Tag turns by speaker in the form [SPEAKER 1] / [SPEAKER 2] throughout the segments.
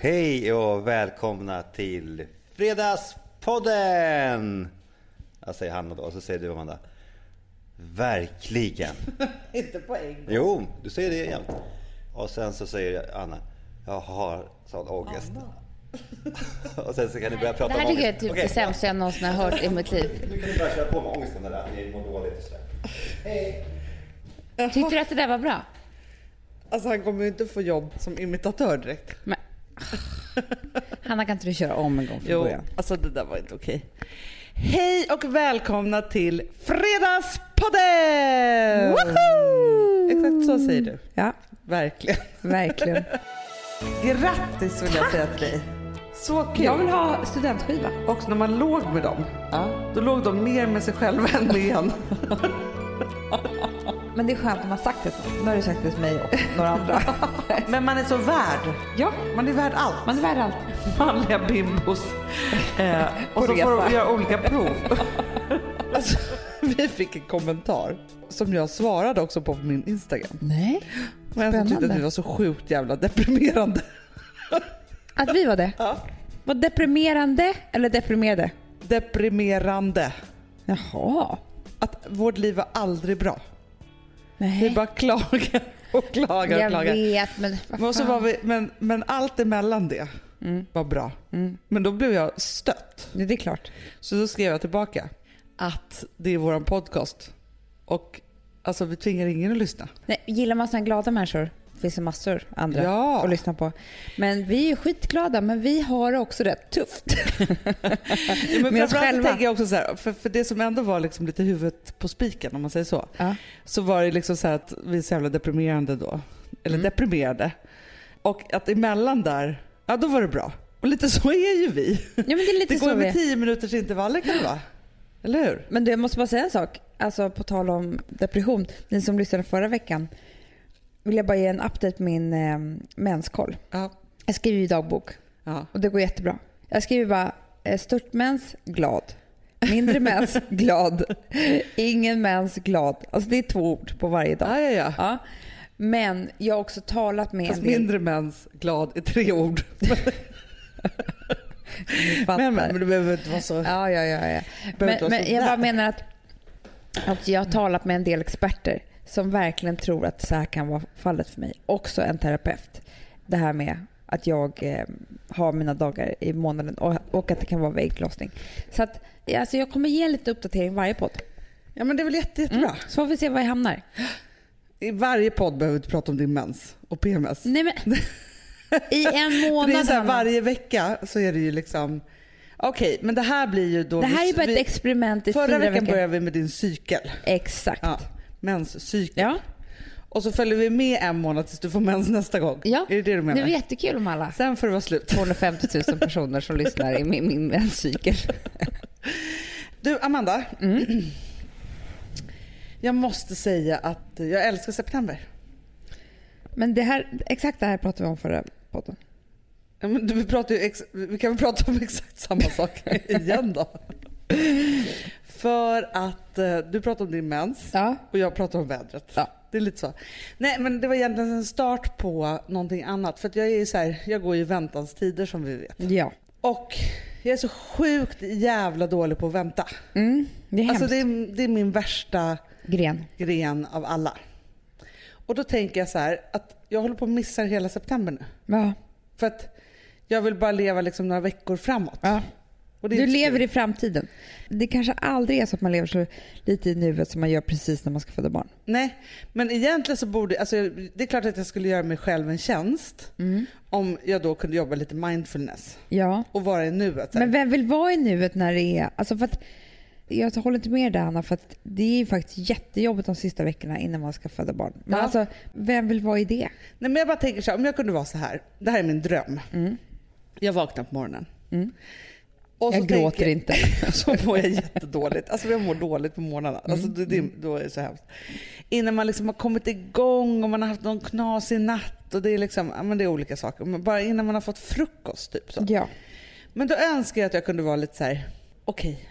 [SPEAKER 1] Hej och välkomna till Fredagspodden! Jag säger han då, och så säger du Amanda. Verkligen!
[SPEAKER 2] Inte på en gång.
[SPEAKER 1] Jo, du säger det jämt. Och sen så säger Anna, jag har sån ångest. och sen så kan ni börja prata
[SPEAKER 3] Det här
[SPEAKER 1] om ångest.
[SPEAKER 3] tycker jag är typ
[SPEAKER 1] Okej,
[SPEAKER 3] det sämsta jag någonsin har hört i mitt liv.
[SPEAKER 1] Nu kan ni börja köra på med ångesten där, att ni mår dåligt och sådär.
[SPEAKER 3] Tyckte du att det där var bra?
[SPEAKER 2] Alltså han kommer ju inte få jobb som imitatör direkt.
[SPEAKER 3] Men... Hanna, kan inte du köra om en gång från början?
[SPEAKER 2] alltså det där var inte okej. Hej och välkomna till Fredagspodden!
[SPEAKER 3] Woho!
[SPEAKER 2] Exakt så säger du.
[SPEAKER 3] Ja,
[SPEAKER 2] Verkligen.
[SPEAKER 3] verkligen.
[SPEAKER 2] Grattis vill jag säga till dig. Så kul.
[SPEAKER 3] Jag vill ha studentskiva.
[SPEAKER 2] Och när man låg med dem, då låg de mer med sig själva än med en.
[SPEAKER 4] Men det är skönt när man sagt det till någon. Nu har du sagt det till mig och några andra.
[SPEAKER 2] Men man är så värd.
[SPEAKER 4] ja,
[SPEAKER 2] Man är värd allt.
[SPEAKER 4] man är värd allt.
[SPEAKER 2] manliga bimbos. Eh, och så
[SPEAKER 4] resa.
[SPEAKER 2] får de göra olika prov. alltså, vi fick en kommentar som jag svarade också på på min Instagram.
[SPEAKER 3] Nej.
[SPEAKER 2] Men jag tyckte att vi
[SPEAKER 3] Spännande.
[SPEAKER 2] var så sjukt jävla deprimerande.
[SPEAKER 3] Att vi var det?
[SPEAKER 2] Ja.
[SPEAKER 3] Var deprimerande eller deprimerade?
[SPEAKER 2] Deprimerande.
[SPEAKER 3] Jaha.
[SPEAKER 2] Att vårt liv var aldrig bra. Vi
[SPEAKER 3] Nej.
[SPEAKER 2] bara klagar och klagar och
[SPEAKER 3] Jag
[SPEAKER 2] klagar.
[SPEAKER 3] vet, men vad
[SPEAKER 2] Men, så
[SPEAKER 3] fan. Mm.
[SPEAKER 2] var vi, men, men allt emellan det var bra. Men då blev jag stött.
[SPEAKER 3] Nej, Det är klart.
[SPEAKER 2] Så då skrev jag tillbaka att det är våran podcast och alltså vi tvingar ingen att lyssna.
[SPEAKER 3] Nej, gillar man sådana glada människor finns det massor andra
[SPEAKER 2] Ja.
[SPEAKER 3] att lyssna på. Men vi är skitglada, men vi har det också rätt tufft.
[SPEAKER 2] Men
[SPEAKER 3] Med oss
[SPEAKER 2] framförallt
[SPEAKER 3] själva.
[SPEAKER 2] tänker jag också så här, för, för det som ändå var liksom lite huvudet på spiken om man säger så,
[SPEAKER 3] Ja.
[SPEAKER 2] så var det liksom så här att vi är så jävla deprimerande då. Eller
[SPEAKER 3] Mm.
[SPEAKER 2] deprimerade. Och att emellan där, ja då var det bra. Och lite så är ju vi.
[SPEAKER 3] Ja, men det är lite
[SPEAKER 2] Det
[SPEAKER 3] så
[SPEAKER 2] går ju
[SPEAKER 3] vi är.
[SPEAKER 2] med tio minuters intervaller kan det vara. Eller hur?
[SPEAKER 3] Men du, jag måste bara säga en sak. Alltså på tal om depression. Ni som lyssnade förra veckan. Vill jag bara ge en update på min eh, menskoll.
[SPEAKER 2] Ja.
[SPEAKER 3] Jag skriver ju dagbok
[SPEAKER 2] ja.
[SPEAKER 3] och det går jättebra. Jag skriver bara eh, störtmens, glad. Mindre mens, glad. Ingen mens, glad. Alltså det är två ord på varje dag.
[SPEAKER 2] Ja, ja, ja.
[SPEAKER 3] Ja. Men jag har också talat med
[SPEAKER 2] Fast
[SPEAKER 3] en del...
[SPEAKER 2] mindre mens, glad är tre ord.
[SPEAKER 3] Ni fattar.
[SPEAKER 2] Men, men, men du behöver inte vara så...
[SPEAKER 3] Ja, ja, ja. ja.
[SPEAKER 2] inte
[SPEAKER 3] Men,
[SPEAKER 2] vara
[SPEAKER 3] men
[SPEAKER 2] så
[SPEAKER 3] jag
[SPEAKER 2] där.
[SPEAKER 3] bara menar att, att jag har talat med en del experter som verkligen tror att så här kan vara fallet för mig. Också en terapeut. Det här med att jag eh, har mina dagar i månaden och, och att det kan vara vid ägglossning. Så att, ja, alltså jag kommer ge en liten uppdatering varje podd.
[SPEAKER 2] Ja men det är väl jätte, jättebra.
[SPEAKER 3] Mm. Så får vi se var jag hamnar.
[SPEAKER 2] I varje podd behöver vi inte prata om din mens och PMS.
[SPEAKER 3] Nej, men, I en
[SPEAKER 2] För det är
[SPEAKER 3] månad.
[SPEAKER 2] så här,
[SPEAKER 3] Hanna.
[SPEAKER 2] varje vecka så är det ju liksom... Okej, men det här blir ju då...
[SPEAKER 3] det här
[SPEAKER 2] vi-
[SPEAKER 3] är bara ett
[SPEAKER 2] vi-
[SPEAKER 3] experiment i
[SPEAKER 2] Förra
[SPEAKER 3] fyra
[SPEAKER 2] veckan
[SPEAKER 3] veckor.
[SPEAKER 2] började vi med din cykel.
[SPEAKER 3] Exakt.
[SPEAKER 2] Ja,
[SPEAKER 3] Ja.
[SPEAKER 2] menscykel.
[SPEAKER 3] Ja.
[SPEAKER 2] Och så följer vi med en månad tills du får mens nästa gång. Är det det du menar?
[SPEAKER 3] det var jättekul om alla.
[SPEAKER 2] Sen får det vara slut.
[SPEAKER 3] 250 000 personer som lyssnar i min, min menscykel.
[SPEAKER 2] Du Amanda.
[SPEAKER 3] Mm.
[SPEAKER 2] Jag måste säga att jag älskar september.
[SPEAKER 3] Men det här, exakt det här pratade vi om förra podden.
[SPEAKER 2] Ja, men du, vi, pratar ju ex- vi kan väl prata om exakt samma sak igen då. För att eh, du pratar om din mens.
[SPEAKER 3] Ja.
[SPEAKER 2] Och jag pratar om vädret.
[SPEAKER 3] Ja.
[SPEAKER 2] Det är lite så. Nej men det var egentligen en start på någonting annat. För att jag är ju så här, jag går ju i väntans tider som vi vet.
[SPEAKER 3] Ja.
[SPEAKER 2] Och jag är så sjukt jävla dålig på att vänta.
[SPEAKER 3] Mm, det är
[SPEAKER 2] Alltså
[SPEAKER 3] hemskt.
[SPEAKER 2] det är, det är min värsta
[SPEAKER 3] Gren.
[SPEAKER 2] gren av alla. Och då tänker jag så här att jag håller på att missa hela september nu.
[SPEAKER 3] Ja.
[SPEAKER 2] För att jag vill bara leva liksom några veckor framåt.
[SPEAKER 3] Ja.
[SPEAKER 2] Och det är
[SPEAKER 3] Du
[SPEAKER 2] inte så
[SPEAKER 3] lever
[SPEAKER 2] kul.
[SPEAKER 3] i framtiden. Det kanske aldrig är så att man lever så lite i nuet som man gör precis när man ska föda barn.
[SPEAKER 2] Nej, men egentligen så borde... Alltså, jag- det är klart att jag skulle göra mig själv en tjänst
[SPEAKER 3] Mm.
[SPEAKER 2] om jag då kunde jobba lite mindfulness
[SPEAKER 3] Ja.
[SPEAKER 2] och vara i nuet. så här.
[SPEAKER 3] Men vem vill vara i nuet när det är... Alltså för att, jag håller inte med dig Anna för att det är ju faktiskt jättejobbigt de sista veckorna innan man ska föda barn. Men
[SPEAKER 2] Ja.
[SPEAKER 3] alltså, vem vill vara i det?
[SPEAKER 2] Nej, men jag bara tänker så här, om jag kunde vara så här. Det här är min dröm.
[SPEAKER 3] Mm.
[SPEAKER 2] Jag vaknar på morgonen. Och
[SPEAKER 3] Jag gråter
[SPEAKER 2] tänker-
[SPEAKER 3] inte. Mm.
[SPEAKER 2] så mår jag jättedåligt. Alltså jag mår dåligt på morgnarna. Alltså det, det, då är det så hemskt. Innan man liksom har kommit igång och man har haft någon knasig natt och det är liksom, ja, men det är olika saker. Men bara innan man har fått frukost typ så.
[SPEAKER 3] Ja.
[SPEAKER 2] Men då önskar jag att jag kunde vara lite så här: okej,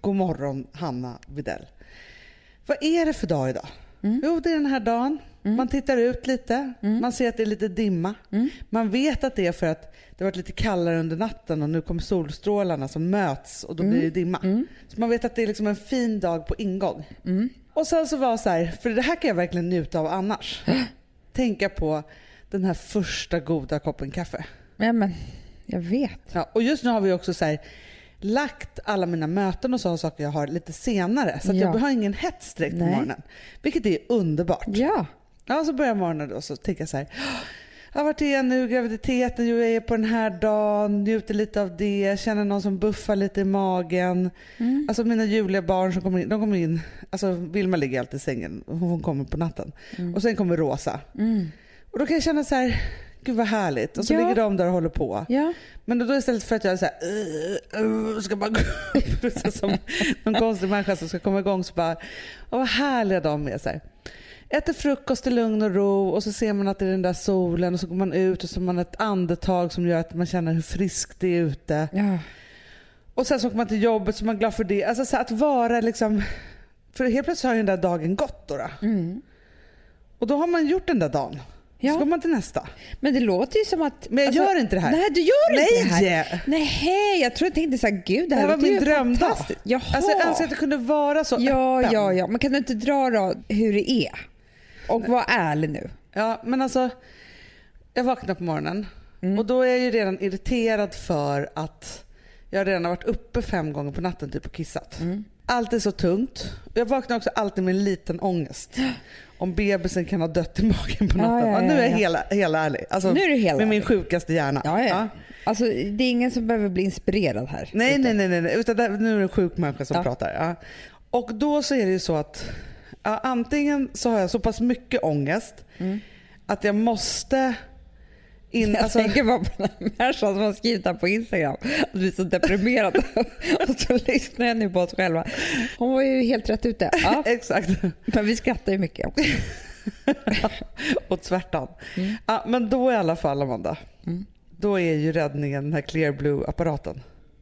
[SPEAKER 2] god morgon Hanna Videll. Vad är det för dag idag? Jo, det är den här dagen. Man tittar ut lite, man ser att det är lite dimma.
[SPEAKER 3] Mm.
[SPEAKER 2] Man vet att det är för att det har varit lite kallare under natten och nu kommer solstrålarna som möts och då blir det dimma.
[SPEAKER 3] Mm.
[SPEAKER 2] Så man vet att det är liksom en fin dag på ingång. Och sen så var så här, för det här kan jag verkligen njuta av annars. Tänka på den här första goda koppen kaffe.
[SPEAKER 3] Ja, men jag vet.
[SPEAKER 2] Ja, och just nu har vi också så här, lagt alla mina möten och sådana saker jag har lite senare. Så att
[SPEAKER 3] Ja.
[SPEAKER 2] jag har ingen hets direkt på
[SPEAKER 3] Nej.
[SPEAKER 2] morgonen. Vilket är underbart.
[SPEAKER 3] Ja.
[SPEAKER 2] Ja, så börjar morgonen då så tänker jag så här. "Åh, Ja, vart är jag nu? Graviditeten, jo jag är på den här dagen, njuter lite av det, känner någon som buffar lite i magen.
[SPEAKER 3] Mm.
[SPEAKER 2] Alltså mina ljuvliga barn som kommer in, de kommer in, alltså Vilma ligger alltid i sängen, hon kommer på natten.
[SPEAKER 3] Mm.
[SPEAKER 2] Och sen kommer Rosa. Och då kan jag känna så här, gud vad härligt. Och så
[SPEAKER 3] Ja.
[SPEAKER 2] ligger de där och håller på.
[SPEAKER 3] Ja.
[SPEAKER 2] Men då, då istället för att jag är så här, "Ugh, ugh", ska bara gå upp så som någon konstig människa som ska komma igång så bara, åh vad härliga de är. Så här. Äter frukost i lugn och ro och så ser man att det är den där solen och så går man ut och så har man ett andetag som gör att man känner hur friskt det är ute.
[SPEAKER 3] Ja.
[SPEAKER 2] Och sen så åker man till jobbet så är man glad för det. Alltså så här, att vara liksom, för helt plötsligt har ju den där dagen gått då. då.
[SPEAKER 3] Mm.
[SPEAKER 2] Och då har man gjort den där dagen.
[SPEAKER 3] Ja.
[SPEAKER 2] Så går man till nästa.
[SPEAKER 3] Men det låter ju som att... alltså,
[SPEAKER 2] Men jag gör inte det här.
[SPEAKER 3] Nej, du gör
[SPEAKER 2] Nej!
[SPEAKER 3] inte det här. Nej, jag tror jag tänkte såhär, gud
[SPEAKER 2] Det
[SPEAKER 3] det
[SPEAKER 2] här
[SPEAKER 3] här,
[SPEAKER 2] var
[SPEAKER 3] låter
[SPEAKER 2] min
[SPEAKER 3] ju
[SPEAKER 2] drömdag.
[SPEAKER 3] fantastiskt. Jaha.
[SPEAKER 2] Alltså jag önskar att det kunde vara så
[SPEAKER 3] ja,
[SPEAKER 2] öppen.
[SPEAKER 3] ja, ja. Men kan du inte dra då hur det är? Och var ärlig nu.
[SPEAKER 2] Ja, men alltså, jag vaknar på morgonen
[SPEAKER 3] Mm.
[SPEAKER 2] och då är jag ju redan irriterad för att jag redan har varit uppe fem gånger på natten typ och kissat.
[SPEAKER 3] Mm.
[SPEAKER 2] Allt är så tungt. Jag vaknar också alltid med en liten ångest. Om bebisen kan ha dött i magen på
[SPEAKER 3] Ja,
[SPEAKER 2] natten.
[SPEAKER 3] ja, ja,
[SPEAKER 2] nu är jag
[SPEAKER 3] ja.
[SPEAKER 2] hela, hela ärlig. Alltså,
[SPEAKER 3] Nu är du hela
[SPEAKER 2] med min
[SPEAKER 3] ärlig.
[SPEAKER 2] sjukaste hjärna.
[SPEAKER 3] Ja, ja.
[SPEAKER 2] Ja.
[SPEAKER 3] Alltså, det är ingen som behöver bli inspirerad här.
[SPEAKER 2] Nej,
[SPEAKER 3] Utan-
[SPEAKER 2] nej, nej, nej, nej. Utan där, nu är det en sjuk människa som
[SPEAKER 3] Ja.
[SPEAKER 2] pratar. Ja. Och då så är det ju så att ja, antingen så har jag så pass mycket ångest
[SPEAKER 3] Mm.
[SPEAKER 2] att jag måste in,
[SPEAKER 3] Jag
[SPEAKER 2] alltså,
[SPEAKER 3] tänker bara på den här människan som har skrivit här på Instagram. Att vi är så deprimerade. och så lyssnar jag nu på oss själva. Hon var ju helt rätt ute. Ja.
[SPEAKER 2] Exakt.
[SPEAKER 3] Men vi skrattar ju mycket också.
[SPEAKER 2] Och tvärtom.
[SPEAKER 3] Mm.
[SPEAKER 2] Ja, men då i alla fall Amanda. Då är ju räddningen den här Clear Blue-apparaten.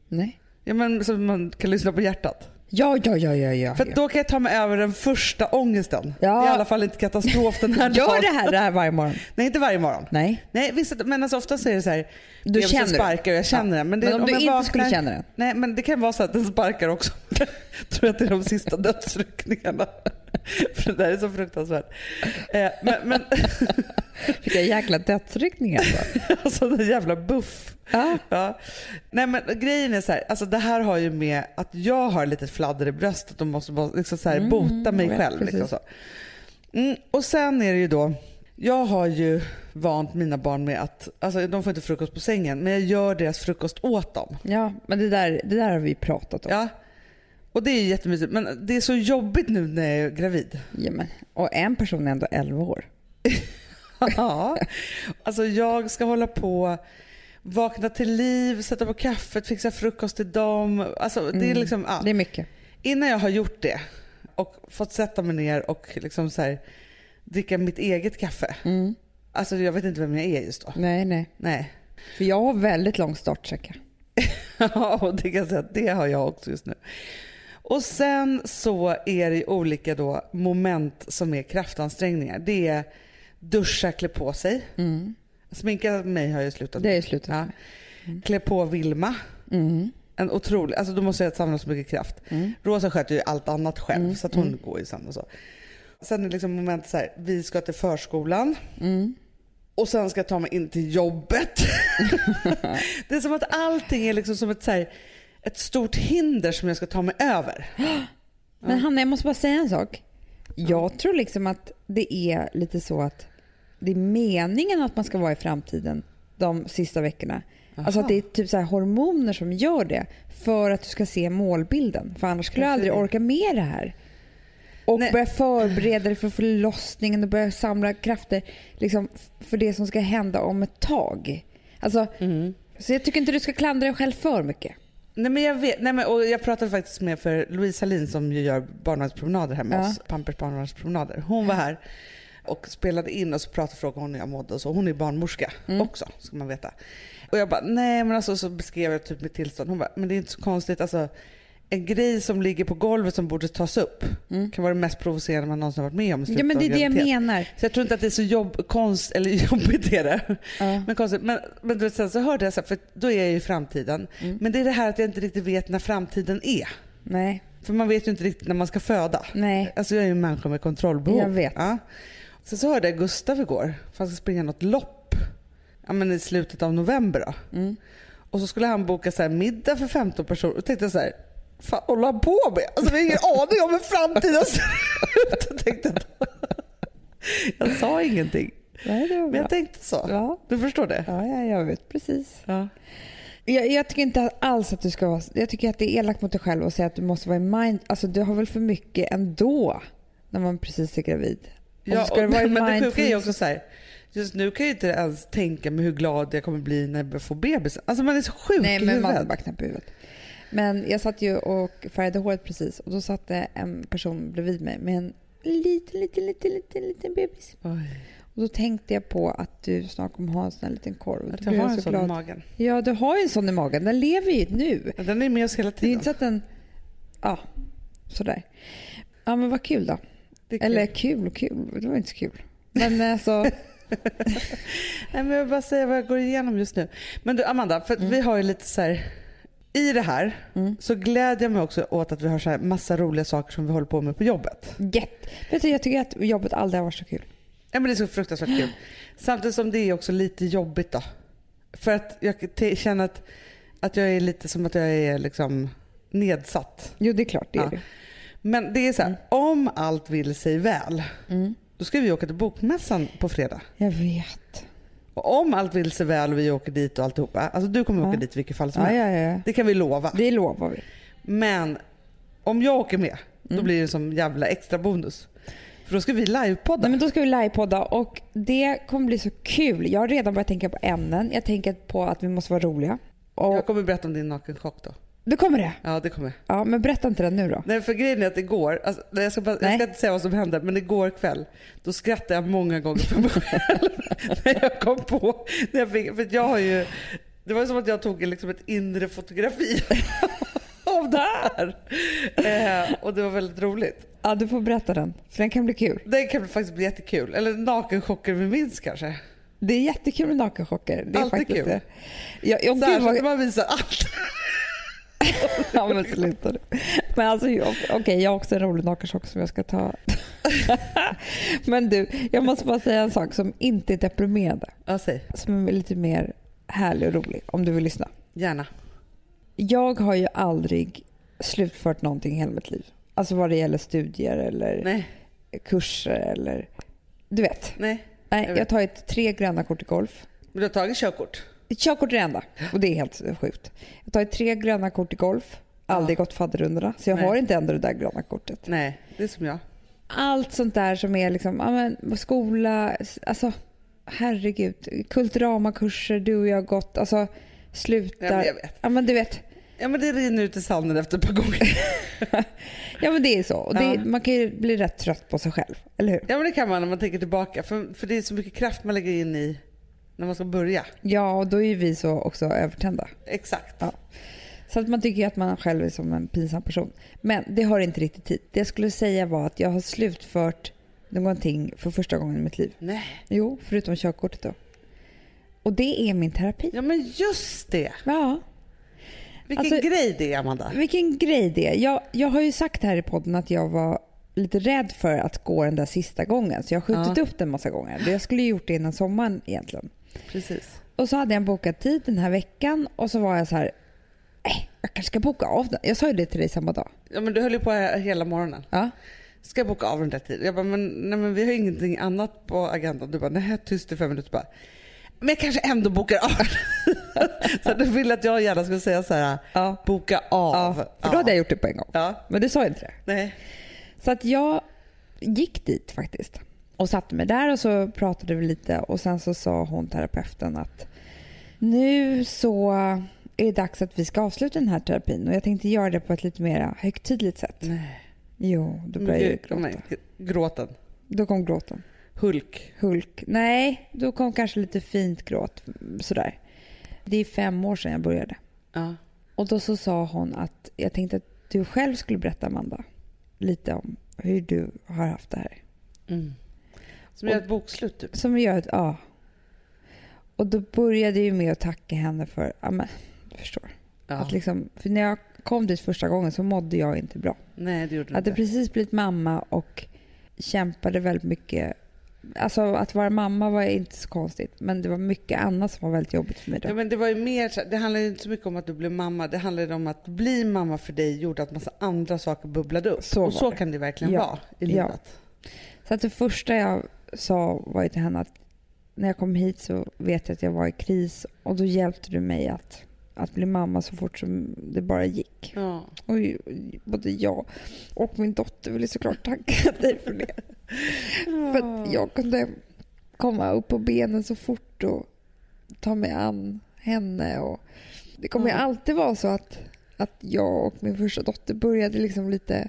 [SPEAKER 3] Nej.
[SPEAKER 2] Ja, men, så man kan lyssna på hjärtat.
[SPEAKER 3] Ja, ja, ja, ja. ja.
[SPEAKER 2] För att då kan jag ta mig över den första ångesten.
[SPEAKER 3] Ja.
[SPEAKER 2] Det är i alla fall inte katastrof den här
[SPEAKER 3] Gör det här, det här varje morgon.
[SPEAKER 2] Nej, inte varje morgon.
[SPEAKER 3] Nej.
[SPEAKER 2] Nej visst, att- men alltså ofta så är det så här.
[SPEAKER 3] Du
[SPEAKER 2] bebisen
[SPEAKER 3] känner den.
[SPEAKER 2] sparkar och jag känner den. Men, det,
[SPEAKER 3] Men om du
[SPEAKER 2] jag
[SPEAKER 3] inte skulle känna den?
[SPEAKER 2] Nej men det kan vara så att den sparkar också. tror att det är de sista dödsryckningarna. För det där är så fruktansvärt. Eh, men men
[SPEAKER 3] Vilka jäkla dödsryckningar. Alltså.
[SPEAKER 2] alltså den jävla buff.
[SPEAKER 3] Ja.
[SPEAKER 2] Ja. Nej men grejen är så här, alltså det här har ju med att jag har lite fladder i bröstet och måste bara liksom så här bota mig
[SPEAKER 3] Mm, jag vet,
[SPEAKER 2] själv.
[SPEAKER 3] precis.
[SPEAKER 2] Liksom så. Mm, och sen är det ju då, jag har ju vant mina barn med att, alltså de får inte frukost på sängen, men jag gör deras frukost åt dem.
[SPEAKER 3] Ja, men det där, det där har vi pratat om.
[SPEAKER 2] Ja. Och det är ju jättemysigt, men det är så jobbigt nu när jag är gravid.
[SPEAKER 3] Jajamän. Och en person är ändå 11 år.
[SPEAKER 2] Ja. Alltså jag ska hålla på, vakna till liv, sätta på kaffet, fixa frukost till dem. Alltså det är liksom, ja.
[SPEAKER 3] Det är mycket.
[SPEAKER 2] innan jag har gjort det och fått sätta mig ner och liksom så här, dricka mitt eget kaffe.
[SPEAKER 3] Mm.
[SPEAKER 2] Alltså jag vet inte vem jag är just då.
[SPEAKER 3] Nej, nej.
[SPEAKER 2] Nej.
[SPEAKER 3] För jag har väldigt lång startsträcka.
[SPEAKER 2] Ja, och det kan jag säga att det har jag också just nu. Och sen så är det ju olika då moment som är kraftansträngningar. Det är duscha, klä på sig.
[SPEAKER 3] Mm.
[SPEAKER 2] Sminka mig har jag slutat
[SPEAKER 3] Det
[SPEAKER 2] med.
[SPEAKER 3] är ju slutet.
[SPEAKER 2] Ja. Klä på Vilma.
[SPEAKER 3] Mm.
[SPEAKER 2] En otrolig, alltså då måste jag samla så mycket kraft.
[SPEAKER 3] Mm.
[SPEAKER 2] Rosa sköter ju allt annat själv så att hon går ju sen och så. Sen är det liksom moment så här, vi ska till förskolan
[SPEAKER 3] Mm.
[SPEAKER 2] och sen ska jag ta mig in till jobbet. det är som att allting är liksom som ett, så här, ett stort hinder som jag ska ta mig över.
[SPEAKER 3] Men Hanna, jag måste bara säga en sak. Jag tror liksom att det är lite så att det är meningen att man ska vara i framtiden de sista veckorna. Alltså att det är typ så här hormoner som gör det för att du ska se målbilden. För annars skulle du aldrig orka med det här. Och
[SPEAKER 2] Nej.
[SPEAKER 3] börja förbereda dig för förlossningen och börja samla krafter liksom, f- för det som ska hända om ett tag. Alltså,
[SPEAKER 2] Mm.
[SPEAKER 3] Så jag tycker inte du ska klandra dig själv för mycket.
[SPEAKER 2] Nej men jag vet, nej men, och jag pratade faktiskt med för Louise Hallin som ju gör barnvagnspromenader hemma
[SPEAKER 3] Ja.
[SPEAKER 2] hos Pampers barnvagnspromenader. Hon var här och spelade in och så pratade frågade hon hur jag mådde och så. Hon är barnmorska
[SPEAKER 3] Mm.
[SPEAKER 2] också ska man veta. Och jag bara nej men alltså så beskrev jag typ mitt tillstånd. Hon bara men det är inte så konstigt alltså en grej som ligger på golvet som borde tas upp kan vara det mest provocerande man någonsin har varit med om i slutet
[SPEAKER 3] Mm. Ja, men
[SPEAKER 2] av
[SPEAKER 3] det är det jag
[SPEAKER 2] graviditet.
[SPEAKER 3] menar.
[SPEAKER 2] Så jag tror inte att det är så jobb, konst, eller jobbigt är det. Men, konstigt. men, men du vet, sen så hörde jag så här, för då är jag ju i framtiden.
[SPEAKER 3] Mm.
[SPEAKER 2] Men det är det här att jag inte riktigt vet när framtiden är.
[SPEAKER 3] Nej.
[SPEAKER 2] För man vet ju inte riktigt när man ska föda.
[SPEAKER 3] Nej.
[SPEAKER 2] Alltså jag är ju en människa med kontrollbehov.
[SPEAKER 3] Jag vet.
[SPEAKER 2] Ja. Sen så hörde jag Gustav igår, för han ska springa något lopp ja, men i slutet av november. Då.
[SPEAKER 3] Mm.
[SPEAKER 2] Och så skulle han boka så här middag för 15 personer. Och tänkte jag så här, fan håller han på med? Alltså vi har ingen aning om hur framtiden ser ut. Jag, tänkte att... jag sa ingenting.
[SPEAKER 3] Nej, det var
[SPEAKER 2] Men
[SPEAKER 3] bra.
[SPEAKER 2] jag tänkte så.
[SPEAKER 3] Ja.
[SPEAKER 2] Du förstår det?
[SPEAKER 3] Ja, ja, jag vet precis.
[SPEAKER 2] Ja.
[SPEAKER 3] Jag, jag tycker inte alls att du ska vara... Jag tycker att det är elakt mot dig själv att säga att du måste vara i mind... Alltså du har väl för mycket ändå när man precis är gravid? Och så
[SPEAKER 2] Ja,
[SPEAKER 3] ska
[SPEAKER 2] och,
[SPEAKER 3] du vara i
[SPEAKER 2] men det sjuka är ju
[SPEAKER 3] mindfulness-
[SPEAKER 2] också så här. Just nu kan jag inte ens tänka mig hur glad jag kommer bli när jag får bebisen. Alltså man är så sjuk
[SPEAKER 3] Nej,
[SPEAKER 2] i
[SPEAKER 3] men man
[SPEAKER 2] huvudet.
[SPEAKER 3] bara knäpp i huvudet. Men jag satt ju och färgade håret precis och då satt det en person bredvid mig med en liten, liten, liten, liten, liten bebis.
[SPEAKER 2] Oj,
[SPEAKER 3] Och då tänkte jag på att du snart kommer ha en sån här liten korv. Och då
[SPEAKER 2] att jag
[SPEAKER 3] blev
[SPEAKER 2] har en
[SPEAKER 3] så
[SPEAKER 2] sån i
[SPEAKER 3] glad.
[SPEAKER 2] magen.
[SPEAKER 3] Ja, du har ju en sån i magen. Den lever ju nu.
[SPEAKER 2] Ja, Den är med oss hela
[SPEAKER 3] Det är
[SPEAKER 2] tiden.
[SPEAKER 3] ju inte så att den... Ja, sådär. Ja, men vad kul då.
[SPEAKER 2] Det är kul.
[SPEAKER 3] Eller kul och kul. Det var inte så kul. Men alltså,
[SPEAKER 2] Nej, men jag vill bara säga vad jag går igenom just nu. Men du Amanda, för att
[SPEAKER 3] Mm.
[SPEAKER 2] vi har ju lite så här. I det här så glädjer jag mig också åt att vi har så här massa roliga saker som vi håller på med på jobbet.
[SPEAKER 3] jätte... Vet du, jag tycker att jobbet aldrig har varit så kul.
[SPEAKER 2] Ja, men det är så fruktansvärt kul. Samtidigt som det är också lite jobbigt då. För att jag te- känner att, att jag är lite som att jag är liksom nedsatt.
[SPEAKER 3] Jo, det är klart. Det är
[SPEAKER 2] Ja.
[SPEAKER 3] det.
[SPEAKER 2] Men det är så här, om allt vill sig väl, då ska vi åka till Bokmässan på fredag.
[SPEAKER 3] Mm. Jag vet.
[SPEAKER 2] Och om allt vill sig väl och vi åker dit och alltihopa, alltså du kommer åka
[SPEAKER 3] Ja.
[SPEAKER 2] dit i vilket fall som
[SPEAKER 3] Ja,
[SPEAKER 2] helst.
[SPEAKER 3] ja, ja.
[SPEAKER 2] Det kan vi lova.
[SPEAKER 3] Det lovar vi.
[SPEAKER 2] Men om jag åker med, då
[SPEAKER 3] Mm.
[SPEAKER 2] blir det som jävla extra bonus. För då ska vi livepodda.
[SPEAKER 3] Nej, men då ska vi livepodda och det kommer bli så kul. Jag har redan börjat tänka på ämnen. Jag tänker på att vi måste vara roliga. Och
[SPEAKER 2] Jag kommer berätta om din nakenchock då.
[SPEAKER 3] Då kommer det.
[SPEAKER 2] Ja det kommer jag.
[SPEAKER 3] Ja, men berätta inte den nu då.
[SPEAKER 2] Nej för grejen är att igår, alltså, nej, jag, ska bara, jag
[SPEAKER 3] Nej.
[SPEAKER 2] ska inte säga vad som hände, men igår kväll då skrattade jag många gånger för mig själv. när jag kom på, när jag fick, för att jag har ju, det var som att jag tog liksom ett inre fotografi av det här. Eh, och det var väldigt roligt.
[SPEAKER 3] Ja, du får berätta den. För den kan bli kul.
[SPEAKER 2] Det kan faktiskt bli jättekul. Eller nakenchocker vi minns kanske.
[SPEAKER 3] Det är jättekul med nakenchocker. Det är
[SPEAKER 2] Alltid
[SPEAKER 3] faktiskt
[SPEAKER 2] kul.
[SPEAKER 3] det. Ja, ja, gud,
[SPEAKER 2] Särskilt
[SPEAKER 3] vad-
[SPEAKER 2] när man visar allt.
[SPEAKER 3] Ja men sluta nu. Men alltså jag- okej, jag har också en rolig nakenchock som jag ska ta. men du, jag måste bara säga en sak som inte är deprimerande.
[SPEAKER 2] Ja säg,
[SPEAKER 3] Som är lite mer härlig och rolig om du vill lyssna.
[SPEAKER 2] gärna.
[SPEAKER 3] Jag har ju aldrig slutfört någonting i hela mitt liv. Alltså vad det gäller studier eller
[SPEAKER 2] Nej,
[SPEAKER 3] kurser eller du vet.
[SPEAKER 2] nej.
[SPEAKER 3] Nej,
[SPEAKER 2] vet.
[SPEAKER 3] jag tar ju tre gröna kort i golf.
[SPEAKER 2] Men du har tagit körkort?
[SPEAKER 3] Ett Körkort är det enda och det är helt sjukt. Jag tar ju tre gröna kort i golf. Aldrig gått fadderrundorna så jag
[SPEAKER 2] Nej.
[SPEAKER 3] har inte ändå det där gröna kortet.
[SPEAKER 2] Nej, det är som jag.
[SPEAKER 3] Allt sånt där som är liksom, ja, men, skola, s- alltså herregud. Kulturamakurser du och jag har gått, alltså slutar.
[SPEAKER 2] Ja, men jag vet.
[SPEAKER 3] Ja, men du vet.
[SPEAKER 2] Ja men det rinner ut i sanden efter ett par gånger.
[SPEAKER 3] Ja men det är så. Och det,
[SPEAKER 2] Ja.
[SPEAKER 3] Man kan ju bli rätt trött på sig själv, eller hur?
[SPEAKER 2] Ja men det kan man när man tänker tillbaka. För, för det är så mycket kraft man lägger in i när man ska börja.
[SPEAKER 3] Ja och då är ju vi så också övertända.
[SPEAKER 2] Exakt.
[SPEAKER 3] Ja. Så att man tycker ju att man själv är som en pinsam person. Men det har inte riktigt tid. Det jag skulle säga var att jag har slutfört någonting för första gången i mitt liv.
[SPEAKER 2] Nej.
[SPEAKER 3] Jo, förutom körkortet då. Och det är min terapi.
[SPEAKER 2] Ja men just det.
[SPEAKER 3] Ja,
[SPEAKER 2] Vilken
[SPEAKER 3] Alltså-
[SPEAKER 2] grej det är Amanda.
[SPEAKER 3] vilken grej det är. Jag, jag har ju sagt här i podden att jag var lite rädd för att gå den där sista gången. Så jag har skjutit upp den massa gånger. Jag skulle ju gjort det innan sommaren egentligen.
[SPEAKER 2] Precis.
[SPEAKER 3] Och så hade jag en bokad tid den här veckan och så var jag så här, "Eh, jag kanske ska boka av den. Jag sa ju det till dig samma dag.
[SPEAKER 2] Ja men du höll ju på hela morgonen.
[SPEAKER 3] Ja.
[SPEAKER 2] Ska jag boka av den där tiden? Jag bara, men, nej, men vi har ingenting annat på agendan. Du bara, nej tyst i fem minuter. Bara, men jag kanske ändå bokar av. så du ville att jag gärna skulle säga så här,
[SPEAKER 3] Ja.
[SPEAKER 2] boka av.
[SPEAKER 3] Ja, för då hade jag gjort det på en gång.
[SPEAKER 2] Ja,
[SPEAKER 3] Men du sa ju inte det.
[SPEAKER 2] nej.
[SPEAKER 3] Så att jag gick dit faktiskt och satte mig där och så pratade vi lite och sen så sa hon terapeuten att nu så är det dags att vi ska avsluta den här terapin och jag tänkte göra det på ett lite mer högtidligt sätt.
[SPEAKER 2] Nej.
[SPEAKER 3] Jo, då
[SPEAKER 2] Mm,
[SPEAKER 3] började jag gråta.
[SPEAKER 2] Nej, Gråten.
[SPEAKER 3] Då kom gråten.
[SPEAKER 2] Hulk.
[SPEAKER 3] Hulk. Nej, då kom kanske lite fint gråt sådär. Det är fem år sedan jag började.
[SPEAKER 2] Ja.
[SPEAKER 3] Och då så sa hon att jag tänkte att du själv skulle berätta, Amanda, lite om hur du har haft det här.
[SPEAKER 2] Mm. Som gör ett bokslut typ.
[SPEAKER 3] Som gör att, ja. Och då började jag ju med att tacka henne för, ja men, du förstår.
[SPEAKER 2] Ja.
[SPEAKER 3] Att liksom, för när jag kom dit första gången så mådde jag inte bra.
[SPEAKER 2] Nej, det gjorde
[SPEAKER 3] Jag
[SPEAKER 2] du
[SPEAKER 3] hade
[SPEAKER 2] inte.
[SPEAKER 3] precis blivit mamma och kämpade väldigt mycket. Alltså att vara mamma var inte så konstigt, men det var mycket annat som var väldigt jobbigt för mig då.
[SPEAKER 2] Ja, men det var ju mer, så här- det handlade ju inte så mycket om att du blev mamma. Det handlade om att bli mamma för dig gjorde att massa andra saker bubblade upp.
[SPEAKER 3] Så var
[SPEAKER 2] och så
[SPEAKER 3] det.
[SPEAKER 2] kan det verkligen
[SPEAKER 3] Ja.
[SPEAKER 2] vara i
[SPEAKER 3] Ja.
[SPEAKER 2] livet.
[SPEAKER 3] Så att det första jag sa var ju till henne att när jag kom hit så vet jag att jag var i kris och då hjälpte du mig att, att bli mamma så fort som det bara gick.
[SPEAKER 2] Ja.
[SPEAKER 3] Och ju- både jag och min dotter ville såklart tacka dig för det. För att jag kunde komma upp på benen så fort och ta mig an henne. Och det kommer ju
[SPEAKER 2] Ja.
[SPEAKER 3] alltid vara så att, att jag och min första dotter började liksom lite...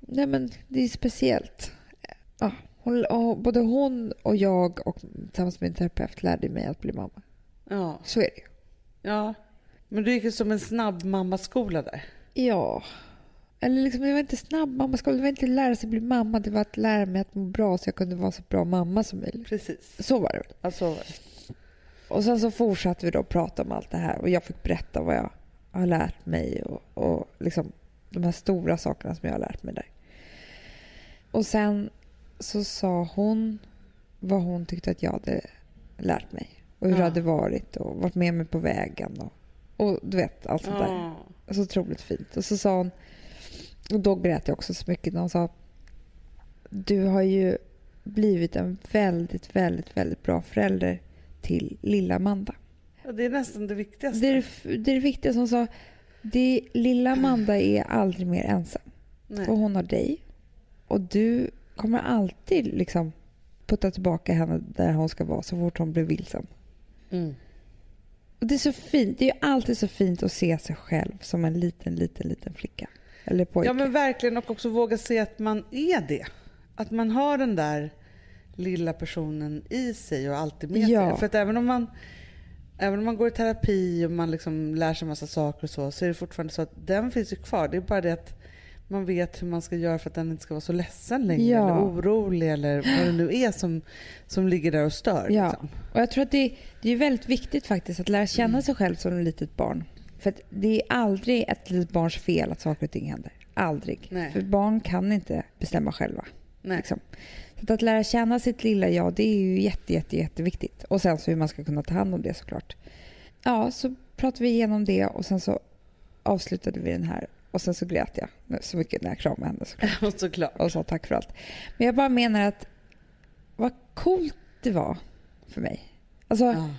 [SPEAKER 3] Nej men det är speciellt. Ja, hon, och både hon och jag och tillsammans med min terapeut lärde mig att bli mamma.
[SPEAKER 2] Ja.
[SPEAKER 3] Så är det ju.
[SPEAKER 2] ja. Men du gick ju som en snabb mammaskola där.
[SPEAKER 3] Ja. Eller liksom, det var inte snabb mamma det var inte lära sig bli mamma, det var att lära mig att må bra så jag kunde vara så bra mamma som möjligt.
[SPEAKER 2] Precis.
[SPEAKER 3] Så var det väl?
[SPEAKER 2] Alltså,
[SPEAKER 3] Och sen så fortsatte vi då prata om allt det här och jag fick berätta vad jag har lärt mig och, och liksom de här stora sakerna som jag har lärt mig där. Och sen så sa hon vad hon tyckte att jag hade lärt mig och hur
[SPEAKER 2] Ja.
[SPEAKER 3] det hade varit och varit med mig på vägen och, och du vet allt sånt där.
[SPEAKER 2] ja.
[SPEAKER 3] Så otroligt fint. Och så sa hon, och då grät jag också så mycket när hon sa Du har ju blivit en väldigt, väldigt, väldigt bra förälder till lilla Amanda.
[SPEAKER 2] Ja, Det är nästan det viktigaste.
[SPEAKER 3] Det är det, f- det är det viktigaste hon sa. Det, lilla Amanda är aldrig mer ensam.
[SPEAKER 2] Nej.
[SPEAKER 3] För hon har dig. Och du kommer alltid liksom putta tillbaka henne där hon ska vara så fort hon blir vilsen.
[SPEAKER 2] Mm.
[SPEAKER 3] Och det är så fint. Det är ju alltid så fint att se sig själv som en liten, liten, liten flicka. Eller pojke.
[SPEAKER 2] Ja men verkligen och också våga se att man är det. Att man har den där lilla personen i sig och alltid med
[SPEAKER 3] Ja.
[SPEAKER 2] sig. För att även om man Även om man går i terapi och man liksom lär sig massa saker och så, så är det fortfarande så att den finns ju kvar. Det är bara det att man vet hur man ska göra för att den inte ska vara så ledsen längre
[SPEAKER 3] Ja.
[SPEAKER 2] eller orolig eller vad det nu är som, som ligger där och stör.
[SPEAKER 3] Ja.
[SPEAKER 2] Liksom.
[SPEAKER 3] Och jag tror att det, det är väldigt viktigt faktiskt att lära
[SPEAKER 2] Mm.
[SPEAKER 3] känna sig själv som ett litet barn. För att det är aldrig ett litet barns fel att saker och ting händer. Aldrig.
[SPEAKER 2] Nej.
[SPEAKER 3] För barn kan inte bestämma själva.
[SPEAKER 2] Nej.
[SPEAKER 3] Liksom. Så att, att lära känna sitt lilla jag, det är ju jätte, jätte, jätteviktigt. Och sen så hur man ska kunna ta hand om det såklart. Ja, så pratade vi igenom det och sen så avslutade vi den här. Och sen så grät jag så mycket när jag kramade henne såklart
[SPEAKER 2] Och såklart.
[SPEAKER 3] och sa tack för allt. Men jag bara menar att vad coolt det var för mig. Alltså,
[SPEAKER 2] Ja.